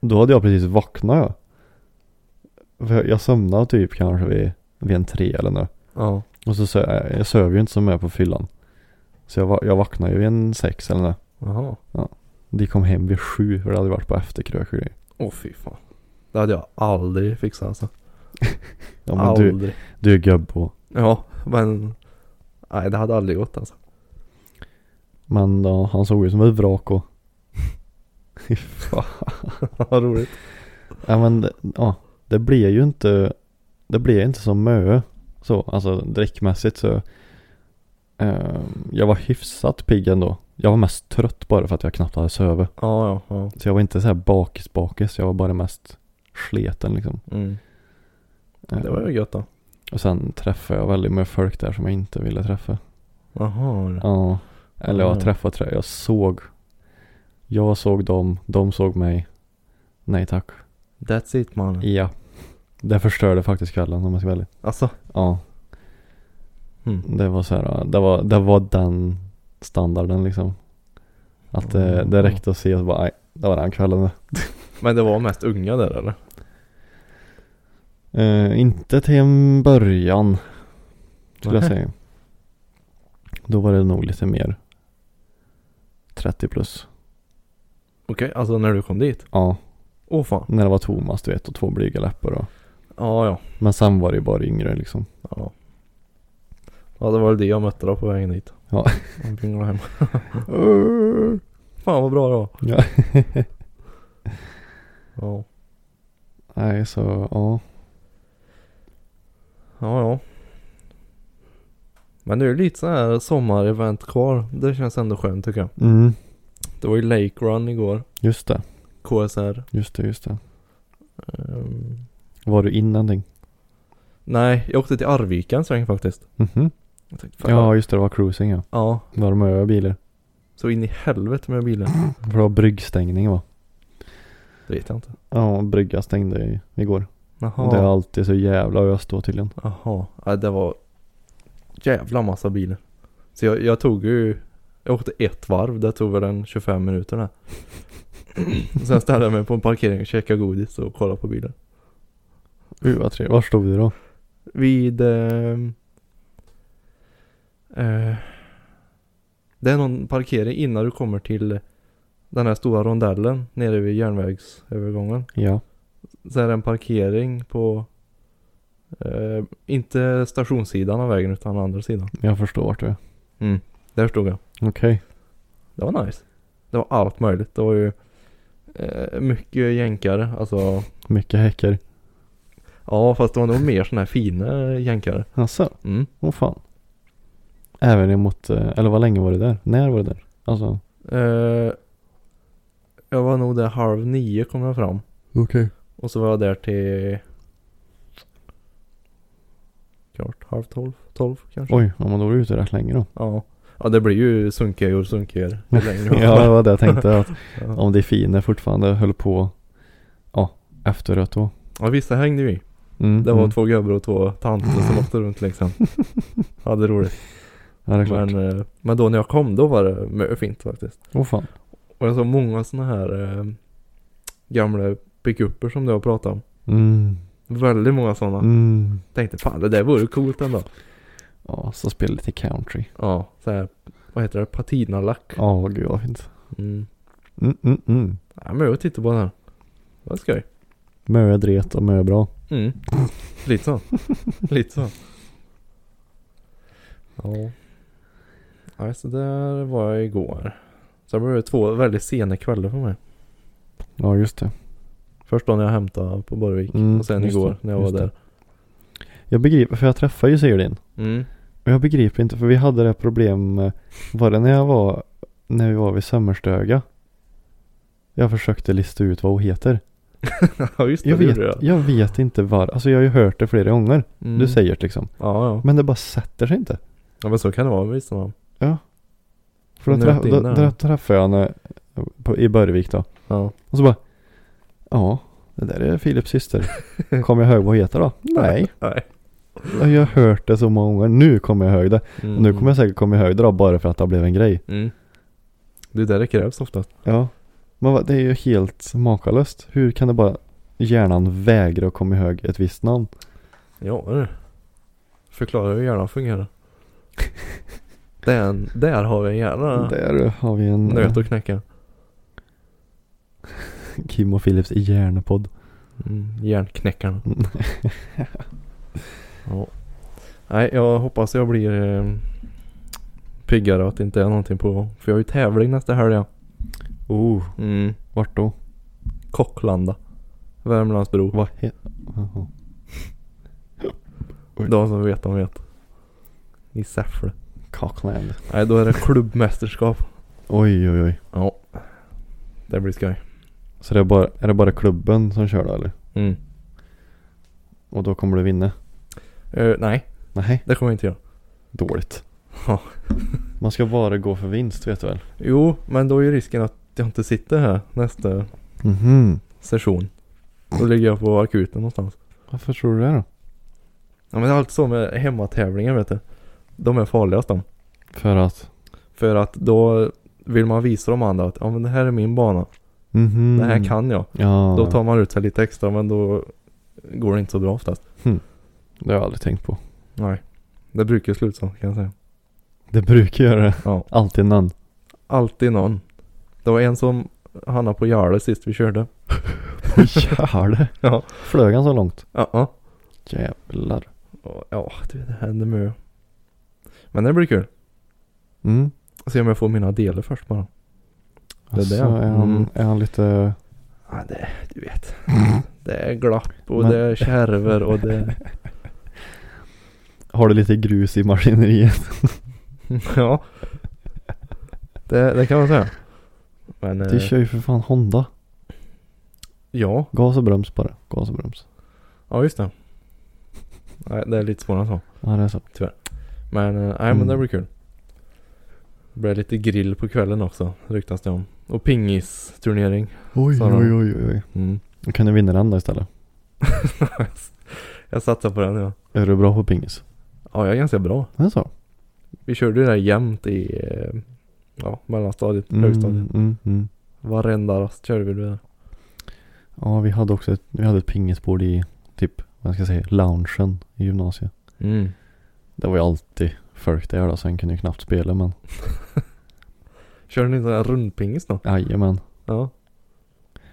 S1: Då hade jag precis vaknat jag. För jag- jag somnade typ kanske vid, vid en tre eller något.
S2: Ja.
S1: Och så sö, eh, jag söv ju inte som jag på fyllan. Så jag, va- jag vaknade ju vid en sex eller något.
S2: Jaha.
S1: De kom hem vid sju för det hade varit på efterkrök och grejer.
S2: Åh fy fan. Det hade jag aldrig fixat alltså.
S1: Ja men du,
S2: aldrig.
S1: du är gubbo.
S2: Ja, men. Nej det hade aldrig gått alltså.
S1: Men ja, han såg ut som ett vrak och...
S2: Vad roligt.
S1: Ja men det- ja, det blev ju inte, det blev inte så mö. Så, alltså dräckmässigt så. Eh, jag var hyfsat pigg ändå. Jag var mest trött bara för att jag knappt hade sovit.
S2: Ja, ja, ja.
S1: Så jag var inte så här bakis bakis, jag var bara mest sleten liksom.
S2: Mm.
S1: Eh,
S2: Det var ju gött då.
S1: Och sen träffade jag väldigt mycket folk där som jag inte ville träffa.
S2: Jaha.
S1: Ja. Eller jag
S2: Mm.
S1: träffade, trä- jag såg. Jag såg dem, de såg mig. Nej tack.
S2: That's it man.
S1: Ja. Det förstörde faktiskt kvällen om jag ska välja.
S2: Alltså.
S1: Ja.
S2: Mm.
S1: Det var så här, det var, det var den standarden liksom. Att det, det räckte att se och så bara, nej, det var den kvällen.
S2: Men det var mest unga där eller?
S1: Eh, inte till en början. Skulle jag
S2: Nähä.
S1: säga. Då var det nog lite mer 30 plus.
S2: Okej, alltså när du kom dit?
S1: Ja,
S2: Åh fan.
S1: när det var Thomas du vet och två blyga läppar och.
S2: Ja, ja.
S1: Men sen var det ju bara yngre liksom.
S2: Ja. Ja, det var väl det jag mötte då på vägen dit.
S1: Ja.
S2: Jag pinglade hem. Fan vad bra det var.
S1: Ja.
S2: Ja.
S1: Nej så ja.
S2: Ja, ja. Men det är ju lite så här sommarevent kvar. Det känns ändå skönt tycker jag.
S1: Mm.
S2: Det var ju Lake Run igår.
S1: Just det,
S2: KSR.
S1: just det, just det.
S2: Ehm,
S1: Var du in någonting?
S2: nej, jag åkte till Arvika en sväng faktiskt.
S1: Mhm.
S2: Jag tänkte, fan,
S1: Ja just det, det var cruising ja.
S2: ja.
S1: Var de över bilar?
S2: Så in i helvete med bilen.
S1: För det var bryggstängning va?
S2: Det vet jag inte.
S1: Ja, brygga stängde i- igår.
S2: Jaha.
S1: Och Det är alltid så jävla ös då tydligen.
S2: Jaha, ja, det var jävla massa bilar. Så jag, jag tog ju, jag åkte ett varv, det tog väl en 25 minuter där. Sen ställde jag mig på en parkering och käkade godis och kollade på bilen.
S1: Uh, vad trevligt. Var stod du då?
S2: Vid... Eh, eh, det är någon parkering innan du kommer till den här stora rondellen nere vid järnvägsövergången.
S1: Ja.
S2: Så är det en parkering på... Eh, inte stationssidan av vägen utan andra sidan.
S1: Jag förstår vart du är.
S2: Mm. Där stod jag.
S1: Okej.
S2: Det var nice. Det var allt möjligt. Det var ju eh, mycket jänkare. Alltså,
S1: Mycket häckar.
S2: ja fast det var nog mer sådana här fina jänkare.
S1: Alltså,
S2: Mm.
S1: åh fan. Även emot, eh, eller vad länge var du där? När var du där? Alltså.
S2: Eh, jag var nog där halv nio kom jag fram.
S1: Okej.
S2: Och så var jag där till klart halv tolv, tolv kanske.
S1: Oj, ja, men då var du ute rätt länge då.
S2: Ja. ja, det blir ju sunkigare och sunkigare ju längre
S1: ja, det var det jag tänkte att
S2: ja.
S1: om det är fina fortfarande höll på, ja, efterrätt då.
S2: ja, vissa hängde ju i.
S1: Mm,
S2: Det var
S1: mm.
S2: två gubbar och två tanter som åkte runt liksom. Ja, det är roligt.
S1: Ja, det är klart.
S2: Men, eh, men då när jag kom då var det mö fint faktiskt.
S1: Åh fan.
S2: Och jag såg många sådana här eh, gamla pickuper som du har pratat om.
S1: Mm.
S2: Väldigt många sådana.
S1: Mm.
S2: Tänkte fan det där vore coolt ändå.
S1: Ja, så spela lite country.
S2: Ja, så här, vad heter det? Patinalack.
S1: Ja, gud vad fint.
S2: Mm.
S1: Mm, mm, mm.
S2: Ja, men jag tittar på den här. Det var skoj.
S1: Mö dret och mö bra.
S2: Mm. Lite så. Lite så. Ja. Nej, så där var jag igår. Sen blev det två väldigt sena kvällar för mig.
S1: Ja, just det.
S2: Först då när jag hämtade på Borgvik
S1: Mm,
S2: och sen
S1: just
S2: igår
S1: det,
S2: när jag var
S1: just
S2: där.
S1: det. Jag begriper, för jag träffar ju Sigurdin.
S2: Mm.
S1: Och jag begriper inte, för vi hade det här problem, eh, var det när jag var, när vi var vid Sömmerstöga? Jag försökte lista ut vad hon heter.
S2: ja just det,
S1: Jag
S2: det
S1: vet,
S2: gjorde jag.
S1: jag vet inte var, alltså jag har ju hört det flera gånger.
S2: Mm.
S1: Du säger det liksom.
S2: Ja, ja.
S1: Men det bara sätter sig inte.
S2: ja men så kan det vara med vissa namn.
S1: För då,
S2: Nöt
S1: träff,
S2: in
S1: då,
S2: där.
S1: då träffade jag henne på, i Börvik då.
S2: Ja.
S1: Och så bara, ja, det där är Philips syster. Kommer jag ihåg vad hon heter då? Nej,
S2: Nej.
S1: jag har hört det så många gånger. Nu kommer jag ihåg det.
S2: Mm.
S1: Och Nu kommer jag säkert komma ihåg det då bara för att det blev en grej.
S2: Mm. Det är där det krävs oftast.
S1: Ja. Men vad- det är ju helt makalöst. Hur kan det bara hjärnan vägra att komma ihåg ett visst namn?
S2: Ja du. Förklara hur hjärnan fungerar. Den, där har vi en hjärna.
S1: Där har vi en
S2: Nöt att knäcka.
S1: eh, Kim och Philips hjärnepodd.
S2: Mm, hjärnknäckarna.
S1: Mm.
S2: ja. Nej, jag hoppas jag blir eh, piggare och att det inte är någonting på gång. För jag har ju tävling nästa helg. ja.
S1: Oh,
S2: Mm.
S1: vart då?
S2: Kocklanda. Värmlandsbro.
S1: Vad heter... Jaha.
S2: De som vet, de vet. I Säffle.
S1: Cockland.
S2: Nej, då är det klubbmästerskap.
S1: Oj, oj, oj.
S2: Ja. Det blir skoj.
S1: Så det är, bara, är det bara klubben som kör då eller?
S2: Mm.
S1: Och då kommer du vinna?
S2: Eh, nej,
S1: Nej,
S2: det kommer jag inte göra.
S1: dåligt.
S2: Ja.
S1: Man ska bara gå för vinst vet du väl?
S2: Jo, men då är ju risken att jag inte sitter här nästa
S1: Mhm.
S2: session. Då ligger jag på akuten någonstans.
S1: Varför tror du det då?
S2: Ja, men det är alltid så med hemmatävlingar vet du. De är farligast de.
S1: För att?
S2: För att då vill man visa de andra att ja men det här är min bana.
S1: Mhm.
S2: Mm. Det här kan jag.
S1: Ja.
S2: Då tar man ut sig lite extra men då går det inte så bra oftast.
S1: Det har jag aldrig tänkt på.
S2: Nej. Det brukar ju sluta så kan jag säga.
S1: Det brukar göra det.
S2: Ja.
S1: Alltid någon.
S2: Alltid någon. Det var en som hamnade på Jarle sist vi körde.
S1: Jävlar.
S2: Ja.
S1: Flög han så långt?
S2: Ja. ja.
S1: Jävlar.
S2: Och, Ja, du, det händer mycket. Men det blir kul.
S1: Mm.
S2: Se om jag får mina delar först bara. Det
S1: Alltså,
S2: där.
S1: Är, han,
S2: Mm.
S1: är han lite...
S2: Ja, det, du vet. Det är glapp och
S1: Men-
S2: det är kärver och det...
S1: Har du lite grus i maskineriet?
S2: Ja. Det, det kan man säga. Men...
S1: Du
S2: eh,
S1: kör ju för fan Honda.
S2: Ja,
S1: Gas och broms bara. Gas och broms.
S2: ja just det. Nej, det är lite svårare än så.
S1: Ja, det är så.
S2: Men, eh, nej
S1: Mm.
S2: men det blir kul. Det blir lite grill på kvällen också, ryktas det om. Och pingisturnering.
S1: Oj,
S2: Sa de.
S1: oj, oj, oj.
S2: Mm.
S1: Då kan du vinna den då istället.
S2: jag satsar på den ja.
S1: Är du bra på pingis?
S2: Ja, jag är ganska bra.
S1: Det är så?
S2: Vi körde ju det här jämt i, eh, ja, mellanstadiet, högstadiet.
S1: mm, mm.
S2: Varenda rast körde vi det där.
S1: Ja, vi hade också ett, vi hade ett pingisbord i typ, vad ska jag säga, loungen i gymnasiet.
S2: Mm.
S1: Det var ju alltid folk där då, så en kunde ju knappt spela men.
S2: Körde ni sån här rundpingis då?
S1: Jajamän.
S2: Ja.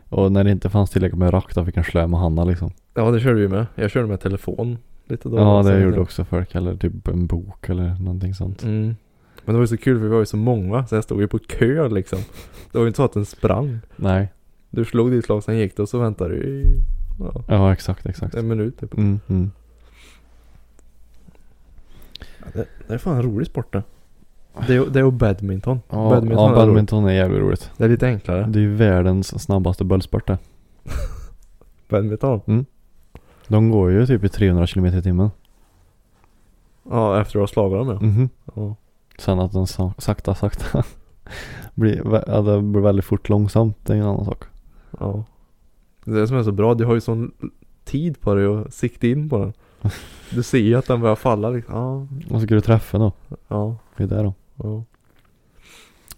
S1: Och när det inte fanns tillräckligt med rack då fick en slö med Hanna liksom.
S2: Ja, det körde vi med. Jag körde med telefon lite då.
S1: ja, det gjorde
S2: jag.
S1: också folk. Eller typ en bok eller någonting sånt.
S2: Mm. Men det var ju så kul för vi var ju så många så jag stod ju på kö liksom. Det var ju inte så att den sprang.
S1: Nej.
S2: Du slog ditt slag, sen gick du och så väntade du i ja,
S1: Ja, exakt, exakt.
S2: en minut typ.
S1: Mm, mm.
S2: Det, är fan en rolig sport det. Det är, det är ju badminton.
S1: Ja,
S2: badminton,
S1: ja,
S2: är roligt.
S1: badminton är jävligt roligt.
S2: Det är lite enklare.
S1: Det är ju världens snabbaste bollsport det.
S2: Badminton.
S1: De går ju typ i 300 km i timmen.
S2: Ja, efter att ha slagit dem ja.
S1: Mhm.
S2: ja.
S1: Sen att den sa- sakta, sakta blir, vä- ja, det blir väldigt fort långsamt, det är en annan sak.
S2: Ja. Det är det som är så bra, du har ju sån tid på dig att sikta in på den. Du ser ju att den börjar falla liksom. Ja,
S1: Och så ska du träffa då,
S2: ja,
S1: det är det då.
S2: ja.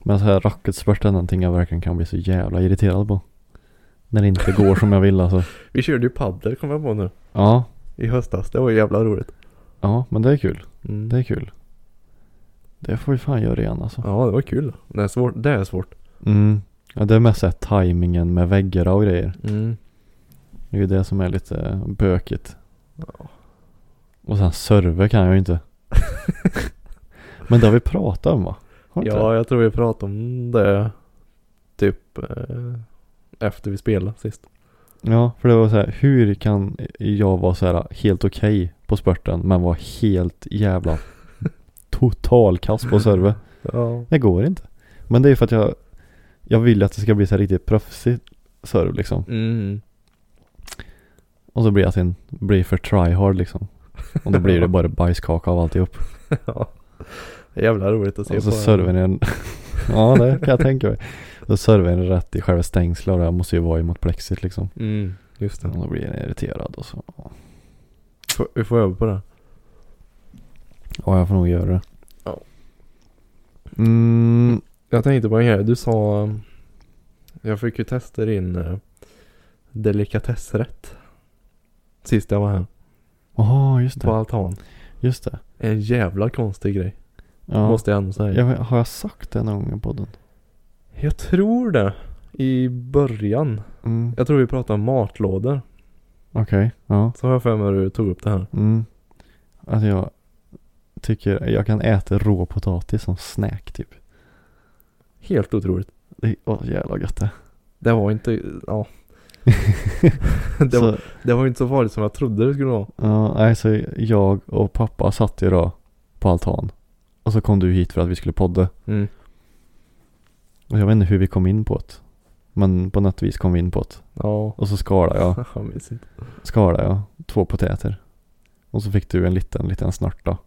S1: Men så här racketsport är någonting jag verkligen kan bli så jävla irriterad på. När det inte går som jag vill alltså.
S2: Vi körde ju paddel kom jag på nu.
S1: Ja,
S2: I höstas, det var ju jävla roligt.
S1: ja men det är kul.
S2: Mm.
S1: Det är kul. Det får vi fan göra igen alltså.
S2: Ja, det var kul. Det är svårt. Det är svårt.
S1: Mm. Ja, det är mest såhär tajmingen med väggar och grejer.
S2: Mm.
S1: Det är ju det som är lite eh, bökigt. Och sen server kan jag ju inte. men det har vi pratat om va? Har vi inte
S2: Ja, jag tror vi pratade om det typ eh, efter vi spelade sist.
S1: Ja, för det var så här, hur kan jag vara så här eh, helt okej på spurten men vara helt jävla totalkass på serve?
S2: Ja.
S1: Det går inte. Men det är för att jag, jag vill att det ska bli så här riktigt proffsigt serve liksom.
S2: Mm.
S1: Och så blir jag sin, blir för tryhard liksom. Och då blir det bara bajskaka av alltihop.
S2: ja. Det är jävla roligt att se
S1: Och så
S2: på.
S1: serven en, ja det kan jag tänka mig. Så serven är rätt i själva stängslet och det här måste ju vara emot plexit liksom.
S2: Mm, just
S1: Och
S2: det.
S1: då blir jag irriterad och så.
S2: Får- Vi får öva på det.
S1: Ja, jag får nog göra det.
S2: Ja.
S1: Mm,
S2: Jag tänkte på en grej. Du sa... eh, Jag fick ju testa din eh, delikatessrätt. Sist jag var här.
S1: jaha, just
S2: På
S1: det.
S2: altan.
S1: Just det.
S2: En jävla konstig grej.
S1: Ja.
S2: Måste jag ändå säga.
S1: Jag vet- har jag sagt det någon gång i podden?
S2: Jag tror det. I början.
S1: Mm.
S2: Jag tror vi pratade om matlådor.
S1: Okej, ja.
S2: Så har jag för mig att du tog upp det här.
S1: Mm. Att jag tycker jag kan äta rå potatis som snack typ.
S2: Helt otroligt.
S1: Det är åh, jävla gött det.
S2: Det var inte, ja. det, var,
S1: så,
S2: det var inte så farligt som jag trodde det skulle vara.
S1: ja, nej, så jag och pappa satt ju då på altan. Och så kom du hit för att vi skulle podda.
S2: Mm.
S1: Och jag vet inte hur vi kom in på det. Men på något vis kom vi in på det.
S2: Ja.
S1: Och så skalade jag.
S2: Vad mysigt.
S1: skala ja, två potäter. Och så fick du en liten, liten snörta.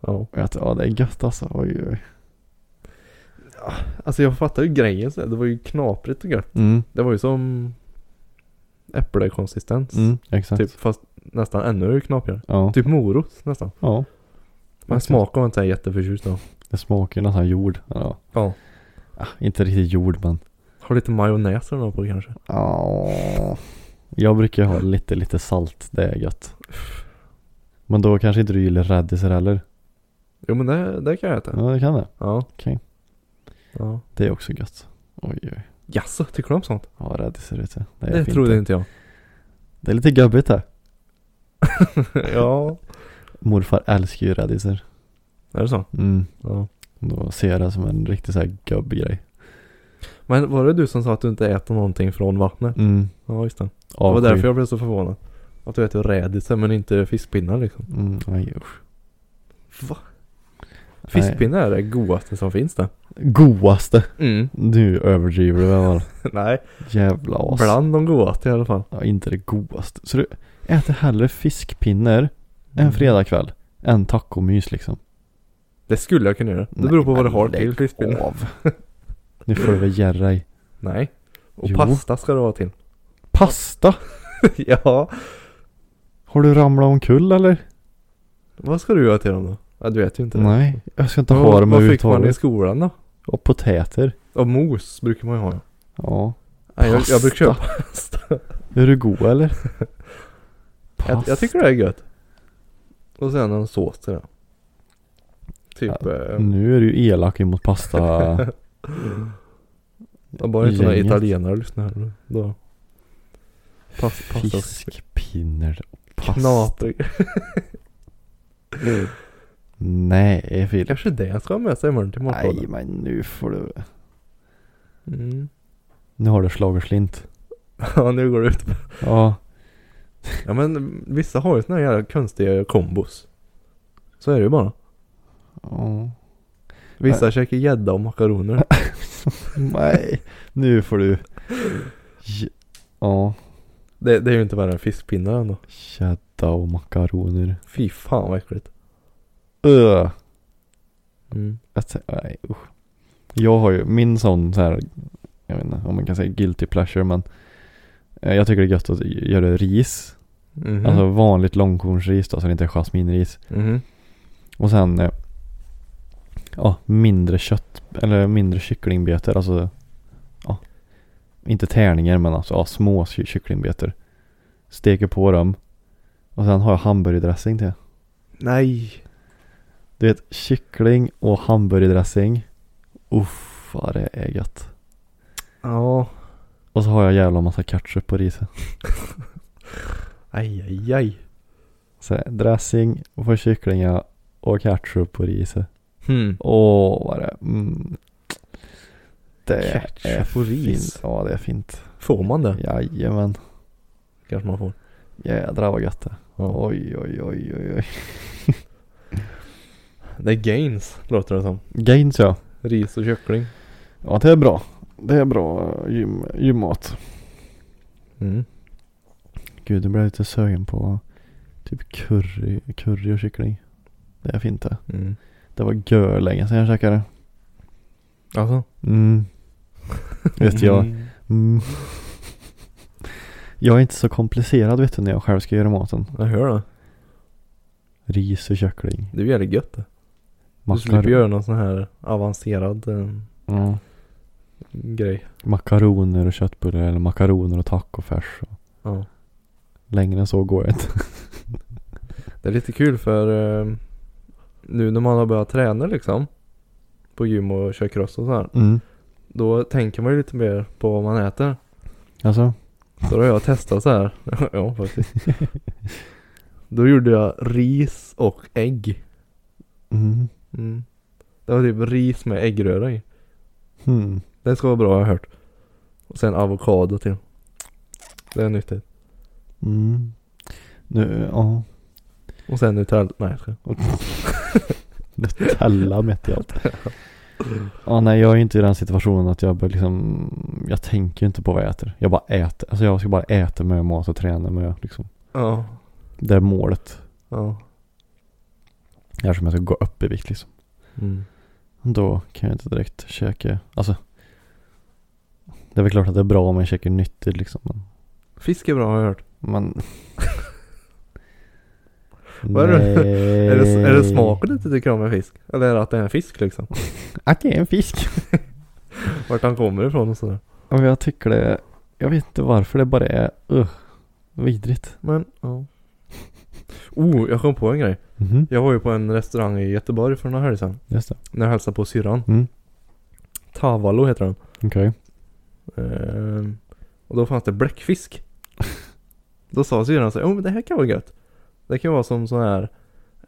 S2: Ja.
S1: Och jag tänkte, ja det är gött alltså, oj oj.
S2: Alltså jag fattar ju grejen så här. Det var ju knaprigt och gött.
S1: Mm,
S2: Det var ju som äppelkonsistens.
S1: mm, exakt.
S2: Typ fast nästan ännu knaprigare.
S1: Ja,
S2: Typ morot nästan.
S1: ja.
S2: Men
S1: Exakt.
S2: smaken var inte så här jätteförtjust av.
S1: Det smakar ju nästan jord. Ja.
S2: Ja.
S1: Ah, inte riktigt jord men.
S2: Har lite majonnäs eller något på kanske.
S1: Ja. Jag brukar ha lite, lite salt, det är gött. Men då kanske inte du gillar rädisor heller?
S2: Jo men det, det kan jag äta.
S1: Ja, det kan det.
S2: Ja.
S1: Okej.
S2: Ja.
S1: Det är också gött. Oj, oj.
S2: Jaså, tycker du om sånt?
S1: Ja, rädisor vet jag. Det är
S2: Det
S1: fint
S2: trodde
S1: det.
S2: inte jag.
S1: Det är lite gubbigt här.
S2: ja.
S1: Morfar älskar ju rädisor.
S2: Är det så?
S1: Mm.
S2: Ja.
S1: Då ser jag det som en riktig så här gubbig grej.
S2: Men var det du som sa att du inte äter någonting från vattnet?
S1: Mm.
S2: Ja just det. Det var
S1: Avsky.
S2: därför jag blev så förvånad. Att du äter rädisor men inte fiskpinnar liksom.
S1: Mm, nej usch.
S2: Va?
S1: Nej.
S2: Fiskpinnar är det godaste som finns det.
S1: Godaste.
S2: Mm.
S1: Nu överdriver du väl?
S2: Nej.
S1: Jävla as.
S2: Bland de godaste i alla fall.
S1: Ja, inte det godaste. Så du äter hellre fiskpinner
S2: Mm.
S1: en fredagkväll än tacomys liksom.
S2: Det skulle jag kunna göra. Det
S1: Nej,
S2: beror på vad du
S1: men
S2: har
S1: lägg
S2: till fiskpinnar.
S1: av. Nu får du väl ge dig.
S2: Nej. Och
S1: Jo.
S2: pasta ska det vara till.
S1: Pasta?
S2: ja.
S1: Har du ramlat omkull eller?
S2: Vad ska du göra till dem då? Ja, du vet ju inte det.
S1: Nej, jag ska inte
S2: Vad-
S1: ha dem
S2: Vad fick man i
S1: överhuvudtaget.
S2: skolan då?
S1: Och potäter.
S2: Och mos brukar man ju ha.
S1: Ja.
S2: Nej, jag, jag brukar köpa
S1: Pasta.
S2: pasta.
S1: Är du god eller?
S2: Jag, jag tycker det är gött. Och sen en sås till det. Typ,
S1: Ja, Mm.
S2: eh,
S1: Nu är du ju elak emot pasta.
S2: jag bara inte några
S1: gänget.
S2: italienare lyssnar här. Då. Pas, pasta.
S1: Fiskpinner och pasta.
S2: Knaprig.
S1: Nej Filip.
S2: Kanske det jag ska ha med sig imorgon till
S1: Nej
S2: matlådan.
S1: men nu får du.
S2: Mm.
S1: Nu har du schlagerslint.
S2: Ja, nu går det ut.
S1: Ja.
S2: Ja men vissa har ju såna här jävla konstiga kombos. Så är det ju bara.
S1: ja.
S2: Vissa käkar gädda och makaroner.
S1: Nej. Nu får du. J- Ja.
S2: Det, det är ju inte värre än fiskpinnar ändå.
S1: Gädda och makaroner.
S2: Fy fan vad äckligt.
S1: Öh.
S2: Mm.
S1: Jag t- nej usch. Jag har ju min sån så här. Jag vet inte om man kan säga guilty pleasure men. eh, Jag tycker det är gött att göra ris.
S2: Mhm.
S1: Alltså vanligt långkornsris då, så det inte är jasminris.
S2: Mhm.
S1: Och sen, eh, ja, mindre kött, eller mindre kycklingbetor, alltså, ja, inte tärningar men alltså, ja, små ky- kycklingbetor. Steker på dem. Och sen har jag hamburgardressing till.
S2: Nej.
S1: Du vet, kyckling och hamburgardressing. Uff, vad det är gött.
S2: Ja.
S1: Och så har jag jävla massa ketchup på riset.
S2: Aj, aj, aj.
S1: Så dressing på kycklingar och ketchup på riset.
S2: Hmm.
S1: Åh, vad det mm. Det är
S2: Ketchup och ris.
S1: fint. Ja, det är fint.
S2: Får man det?
S1: Jajamän.
S2: Kanske man får.
S1: Jädrar vad gött det
S2: Ja.
S1: Oj, oj, oj, oj, oj.
S2: Det är gains, låter det som.
S1: Gains ja.
S2: Ris och kyckling.
S1: Ja, det är bra. Det är bra eh, gym, gymmat.
S2: Mm.
S1: Gud, nu blir jag lite sugen på typ curry, curry och kyckling. Det är fint det.
S2: Mm.
S1: Det var gör länge sedan jag käkade.
S2: Alltså.
S1: Mm. Vet jag.
S2: Mm.
S1: Mm. Jag är inte så komplicerad vet du när jag själv ska göra maten.
S2: Jag hör det.
S1: Ris och kyckling.
S2: Det är ju jävligt gött det. Du slipper göra någon sån här avancerad eh,
S1: Ja.
S2: grej.
S1: Makaroner och köttbullar eller makaroner och tacofärs. och-
S2: Ja.
S1: Längre än så går jag inte.
S2: Det är lite kul för eh, nu när man har börjat träna liksom. På gym och kör cross och så här.
S1: Mm.
S2: Då tänker man ju lite mer på vad man äter.
S1: Alltså?
S2: Så då har jag testat så här. ja, faktiskt. Då gjorde jag ris och ägg.
S1: Mm.
S2: Mm. Det var typ ris med äggröra i.
S1: Hmm.
S2: Det ska vara bra har jag hört. Och sen avokado till. Det är nyttigt.
S1: Mm. Nu, ja.
S2: Och sen Nutella. Nej jag skojar.
S1: Nutella mätte jag. Ja, nej jag är inte i den situationen att jag bör liksom, jag tänker inte på vad jag äter. Jag bara äter. Alltså jag ska bara äta med mat och träna med liksom.
S2: Ja.
S1: Det är målet.
S2: Ja.
S1: Eftersom jag ska gå upp i vikt liksom.
S2: Mm.
S1: Då kan jag inte direkt käka, alltså. Det är väl klart att det är bra om jag käkar nyttigt liksom. Men
S2: Fisk är bra har jag hört.
S1: Man...
S2: Vad är det?
S1: Nej.
S2: Är det, är
S1: Eh.
S2: det smaken du inte tycker om med fisk? Eller är det att det är en fisk liksom?
S1: Att det är en fisk.
S2: Vart han kommer ifrån och sådär.
S1: Och jag tycker det, jag vet inte varför det bara är, uh, Vidrigt.
S2: Men, ja. Oh, jag kom på en grej.
S1: Mhm.
S2: Jag var ju på en restaurang i Göteborg för några helg sedan.
S1: Just det.
S2: När jag hälsade på syrran.
S1: Mm.
S2: Tavalo heter den.
S1: Okej.
S2: Ehm, och då fanns det bläckfisk. då sa syrran så här, oh, men det här kan vara gött. Det kan vara som sån här,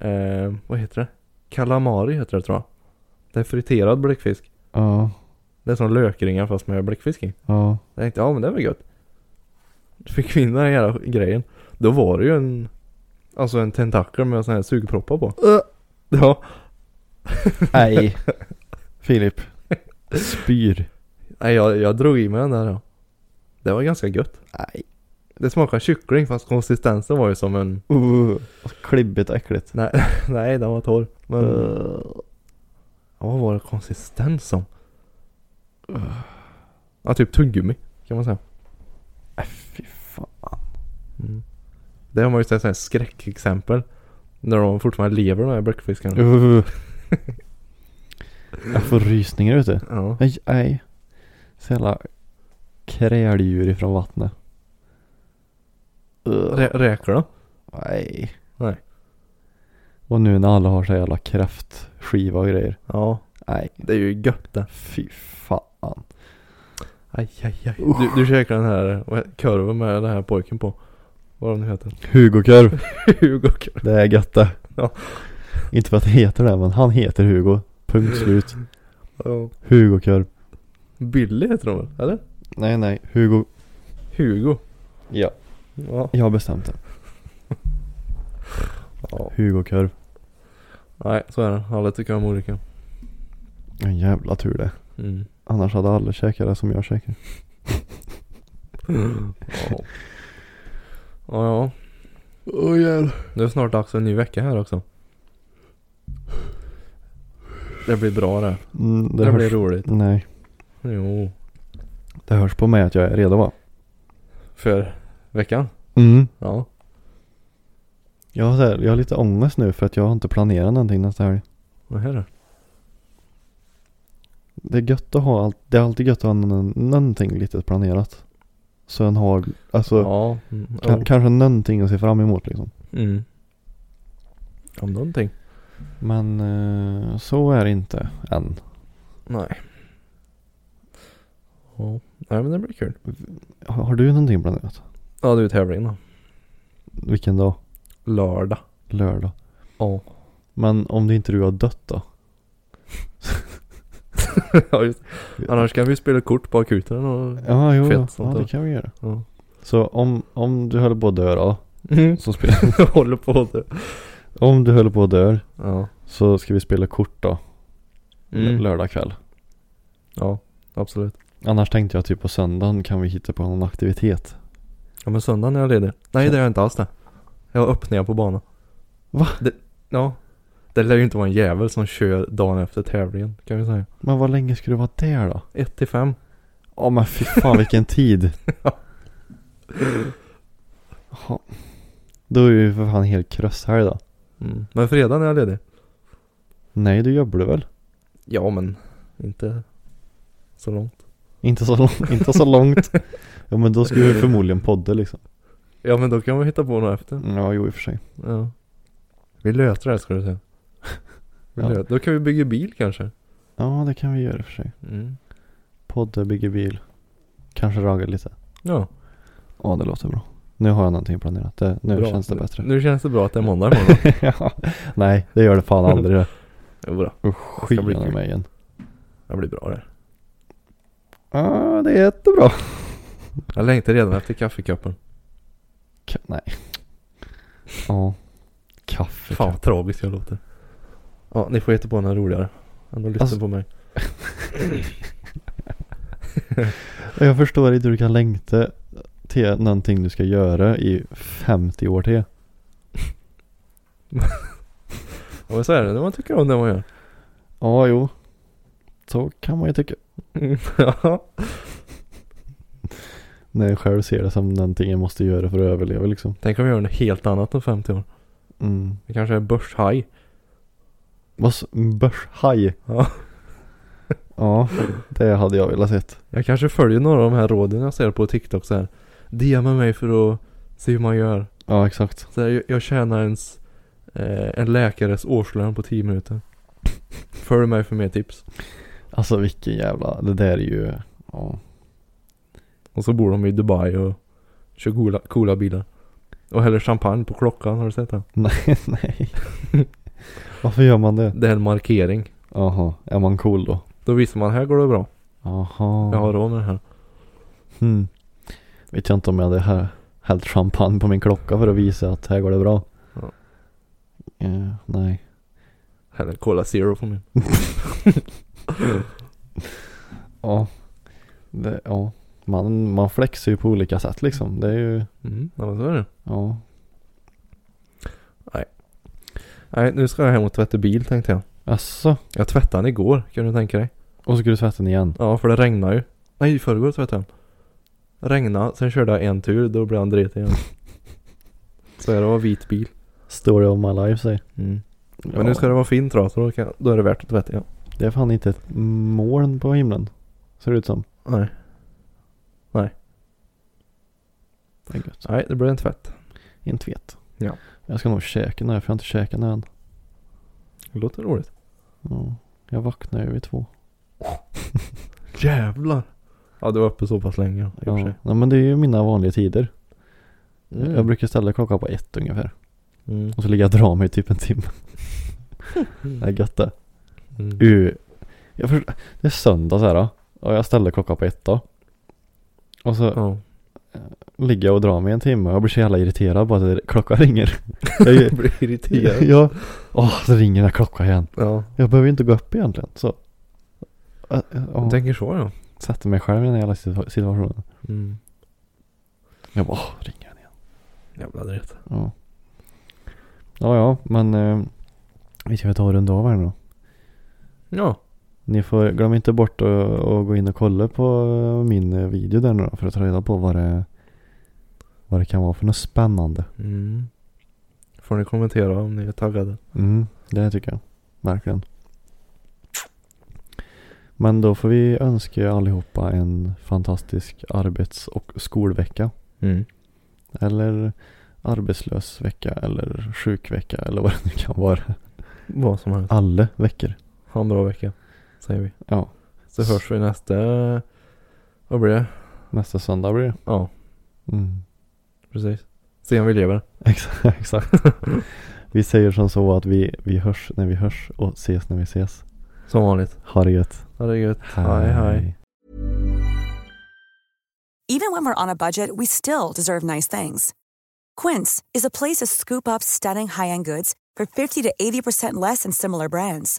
S2: ehm, vad heter det? Kalamari heter det tror jag. Det är friterad bläckfisk.
S1: Ja.
S2: Det är som lökringar fast med bläckfisk i.
S1: Ja.
S2: Jag tänkte, ja men det var gött. Då fick vi in den här jävla grejen. Då var det ju en, alltså en tentakel med sån här sugproppar på. Ja.
S1: Nej. Filip. Spyr.
S2: Nej jag, jag drog i mig den där ja. Det var ganska gött.
S1: Nej.
S2: Det smakade kyckling fast konsistensen var ju som en
S1: Uh, klibbigt och äckligt.
S2: Nej, nej den var torr. Men... Ja, vad var det konsistens som? Ja, typ tuggummi kan man säga.
S1: Äh, fy fan.
S2: Mm. Det har man ju sett sådana här skräckexempel. När de fortfarande lever de här bläckfiskarna.
S1: Uh. Jag får rysningar ute.
S2: Ja.
S1: Nej, nej. Så jävla kräldjur ifrån vattnet.
S2: Rä- räkor då?
S1: Nej.
S2: Nej.
S1: Och nu när alla har så jävla kräftskiva och grejer.
S2: Ja,
S1: Nej.
S2: det är ju gött det.
S1: Fy fan.
S2: Aj, aj, aj. Du, du käkar den här vad- korven med den här pojken på. Vad den nu heter.
S1: Hugo-korv.
S2: Hugo korv.
S1: Det är gött det.
S2: Ja.
S1: Inte för att det heter det men han heter Hugo. Punkt slut.
S2: Ja.
S1: Hugo-korv.
S2: Billy heter de väl? Eller?
S1: Nej nej, Hugo.
S2: Hugo.
S1: Ja.
S2: Ja.
S1: Jag har bestämt det.
S2: ja.
S1: Hugo-korv.
S2: Nej, så är det. Alla tycker om olika.
S1: En jävla tur det.
S2: Mm.
S1: Annars hade alla käkat det som jag käkar. Mm,
S2: Ja. Ja, ja.
S1: Åh jävlar.
S2: Det är snart dags för en ny vecka här också. Det blir bra det.
S1: Mm,
S2: Det,
S1: det, hörs.
S2: blir roligt.
S1: Nej.
S2: Jo.
S1: Det hörs på mig att jag är redo va?
S2: För veckan?
S1: Mm.
S2: Ja.
S1: Jag har, så här, jag har lite ångest nu för att jag har inte planerat någonting nästa helg.
S2: Vad är det?
S1: Det är gött att ha allt. Det är alltid gött att ha n- någonting lite planerat. Så en har, alltså
S2: Ja. Mm.
S1: ka-
S2: ja.
S1: kanske någonting att se fram emot liksom.
S2: Mm. Om någonting?
S1: Men eh, så är det inte än.
S2: Nej. Ja. Nej men det blir kul.
S1: Har, har du någonting planerat?
S2: Ja det är ju tävling då.
S1: Vilken dag?
S2: Lördag.
S1: Lördag.
S2: Ja.
S1: Men om det inte du har dött då?
S2: ja just Annars kan vi spela kort på akuten och...
S1: Ja, jo,
S2: Fett, sånt
S1: ja, det
S2: där.
S1: kan vi göra.
S2: Ja.
S1: Så om, om du höll på att dö då,
S2: Mm.
S1: så spela,
S2: Håller på det.
S1: om du höll på att dö
S2: Ja.
S1: så ska vi spela kort då,
S2: Mm.
S1: lördag kväll.
S2: Ja. Absolut.
S1: Annars tänkte jag typ på söndagen kan vi hitta på någon aktivitet.
S2: Ja men söndagen är jag ledig. Nej det är jag inte alls det. Jag har öppningar på banan.
S1: Va?
S2: Det, ja. Det lär ju inte vara en jävel som kör dagen efter tävlingen kan vi säga.
S1: Men vad länge ska du vara där då?
S2: 1 till 5.
S1: Ja men fy fan vilken tid. Jaha. Då är det ju för fan helt kross här då.
S2: Mm. Men fredagen är jag ledig.
S1: Nej du jobbar väl?
S2: Ja men inte så långt.
S1: Inte så, lång, inte så långt. Ja men då ska vi förmodligen podda liksom.
S2: Ja men då kan vi hitta på något efter.
S1: Ja jo i och för sig.
S2: Ja. Vi löser det här ska du säga. Vi
S1: Ja.
S2: löter. Då kan vi bygga bil kanske.
S1: Ja det kan vi göra i och för sig.
S2: Mm.
S1: Podda, bygga bil. Kanske raga lite.
S2: Ja.
S1: Ja det låter bra. Nu har jag någonting planerat. Det, nu
S2: bra.
S1: känns det bättre.
S2: Nu känns det bra att det är måndag imorgon.
S1: ja. Nej det gör det fan aldrig det.
S2: jo då.
S1: Usch,
S2: bli
S1: skyn i
S2: kul.
S1: mig igen.
S2: Det blir bra det.
S1: Ja det är jättebra.
S2: Jag längtar redan efter kaffekoppen.
S1: Ka- nej. Ja. Kaffe.
S2: Fan
S1: kaffe.
S2: vad tragiskt jag låter. Ja, ni får hitta på något roligare. Än att lyssna
S1: Alltså-
S2: på mig.
S1: Jag förstår inte hur du kan längta till någonting du ska göra i 50 år till.
S2: Ja men så är det, man tycker om det man gör.
S1: Ja, jo. Så kan man ju tycka.
S2: ja.
S1: När jag själv ser det som någonting jag måste göra för att överleva liksom.
S2: Tänk om vi gör något helt annat om 50 år.
S1: Mm.
S2: Vi kanske är börshaj.
S1: Vad s- Börshaj.
S2: Ja.
S1: Ja, det hade jag velat sett.
S2: Jag kanske följer några av de här råden jag ser på TikTok så här. DMa mig för att Se hur man gör.
S1: Ja, exakt.
S2: Så här, jag, jag tjänar ens eh, en läkares årslön på 10 minuter. Följ mig för mer tips.
S1: Alltså vilken jävla, det där är ju, ja.
S2: Och så bor de i Dubai och kör coola, coola bilar. Och häller champagne på klockan, har du sett det?
S1: Nej, nej. Varför gör man det?
S2: Det är en markering.
S1: Jaha, är man cool då?
S2: Då visar man, här går det bra.
S1: Jaha.
S2: Jag har råd med det här.
S1: Hmm. Vet jag inte om jag hade hä- hällt champagne på min klocka för att visa att här går det bra.
S2: Ja.
S1: Eh, nej.
S2: Häller Cola Zero på min.
S1: Ja. Det, ja. Man, man flexar ju på olika sätt liksom. Det är ju,
S2: Mm, ja, men så är det.
S1: ja.
S2: Nej, nu ska jag hem och tvätta bil tänkte jag.
S1: Asså.
S2: Jag tvättade den igår, kan du tänka dig?
S1: Och så ska du tvätta den igen.
S2: Ja, för det regnar ju. Nej, i förrgår tvättade jag den. Regna, sen körde jag en tur, då blev han dretig igen. så här, det var vit bil. Mm.
S1: Story of my life säger. Ja,
S2: Men nu ska det vara fin trasa, då, kan- då är det värt att tvätta igen.
S1: Det är fan inte ett moln på himlen. Ser det ut som.
S2: Nej.
S1: Det är gött.
S2: Nej, det blir en tvätt.
S1: Inte vet.
S2: Ja.
S1: Jag ska nog käka nu för jag har inte käkat nu än.
S2: Det låter roligt.
S1: Ja. Jag vaknar ju vid två.
S2: Jävlar! Ja, du var uppe så pass länge i och
S1: Ja.
S2: för sig.
S1: ja men det är ju mina vanliga tider.
S2: Mm.
S1: Jag brukar ställa klockan på ett ungefär.
S2: Mm.
S1: Och så ligger jag och drar mig i typ en timme. Det är gött det.
S2: Mm.
S1: Uh, jag förstår, det är söndag så här då. Och jag ställer klockan på ett då. Och så
S2: Ja.
S1: ligger jag och drar mig en timme. Jag blir så jävla irriterad bara att klockan ringer. Jag, är-
S2: Jag blir irriterad.
S1: ja. Åh, så ringer den här klockan igen.
S2: Ja.
S1: Jag behöver ju inte gå upp egentligen. Så. Äh, äh,
S2: Jag
S1: ja.
S2: tänker så ja.
S1: Sätter mig själv i den här jävla situa- situationen.
S2: Mm.
S1: Jag bara, åh, ringer den igen.
S2: Jävla dret.
S1: Ja. Ja, ja, men eh, vi ska väl ta och runda av här nu då.
S2: Ja.
S1: Ni får, glöm inte bort att, att gå in och kolla på min eh, video där nu då, för att ta reda på vad det, vad det kan vara för något spännande.
S2: Mm. Får ni kommentera om ni är taggade.
S1: Mm, det tycker jag. Verkligen. Men då får vi önska er allihopa en fantastisk arbets och skolvecka.
S2: Mm.
S1: Eller arbetslös vecka eller sjukvecka eller vad det nu kan vara.
S2: Vad som helst.
S1: Alla veckor.
S2: Ha en bra vecka. Säger vi.
S1: Ja,
S2: Så hörs vi nästa... Vad blir det?
S1: nästa söndag blir det.
S2: Ja,
S1: Mm.
S2: precis. Se om vi lever.
S1: Ex- Exakt. vi säger som så att vi, vi hörs när vi hörs och ses när vi ses.
S2: Som vanligt.
S1: Ha det gött.
S2: Ha det gött. Hej hej.
S3: Even when we're on a budget, we still deserve nice things. Quince is a place to scoop up stunning high end goods for 50 to 80% less than similar brands.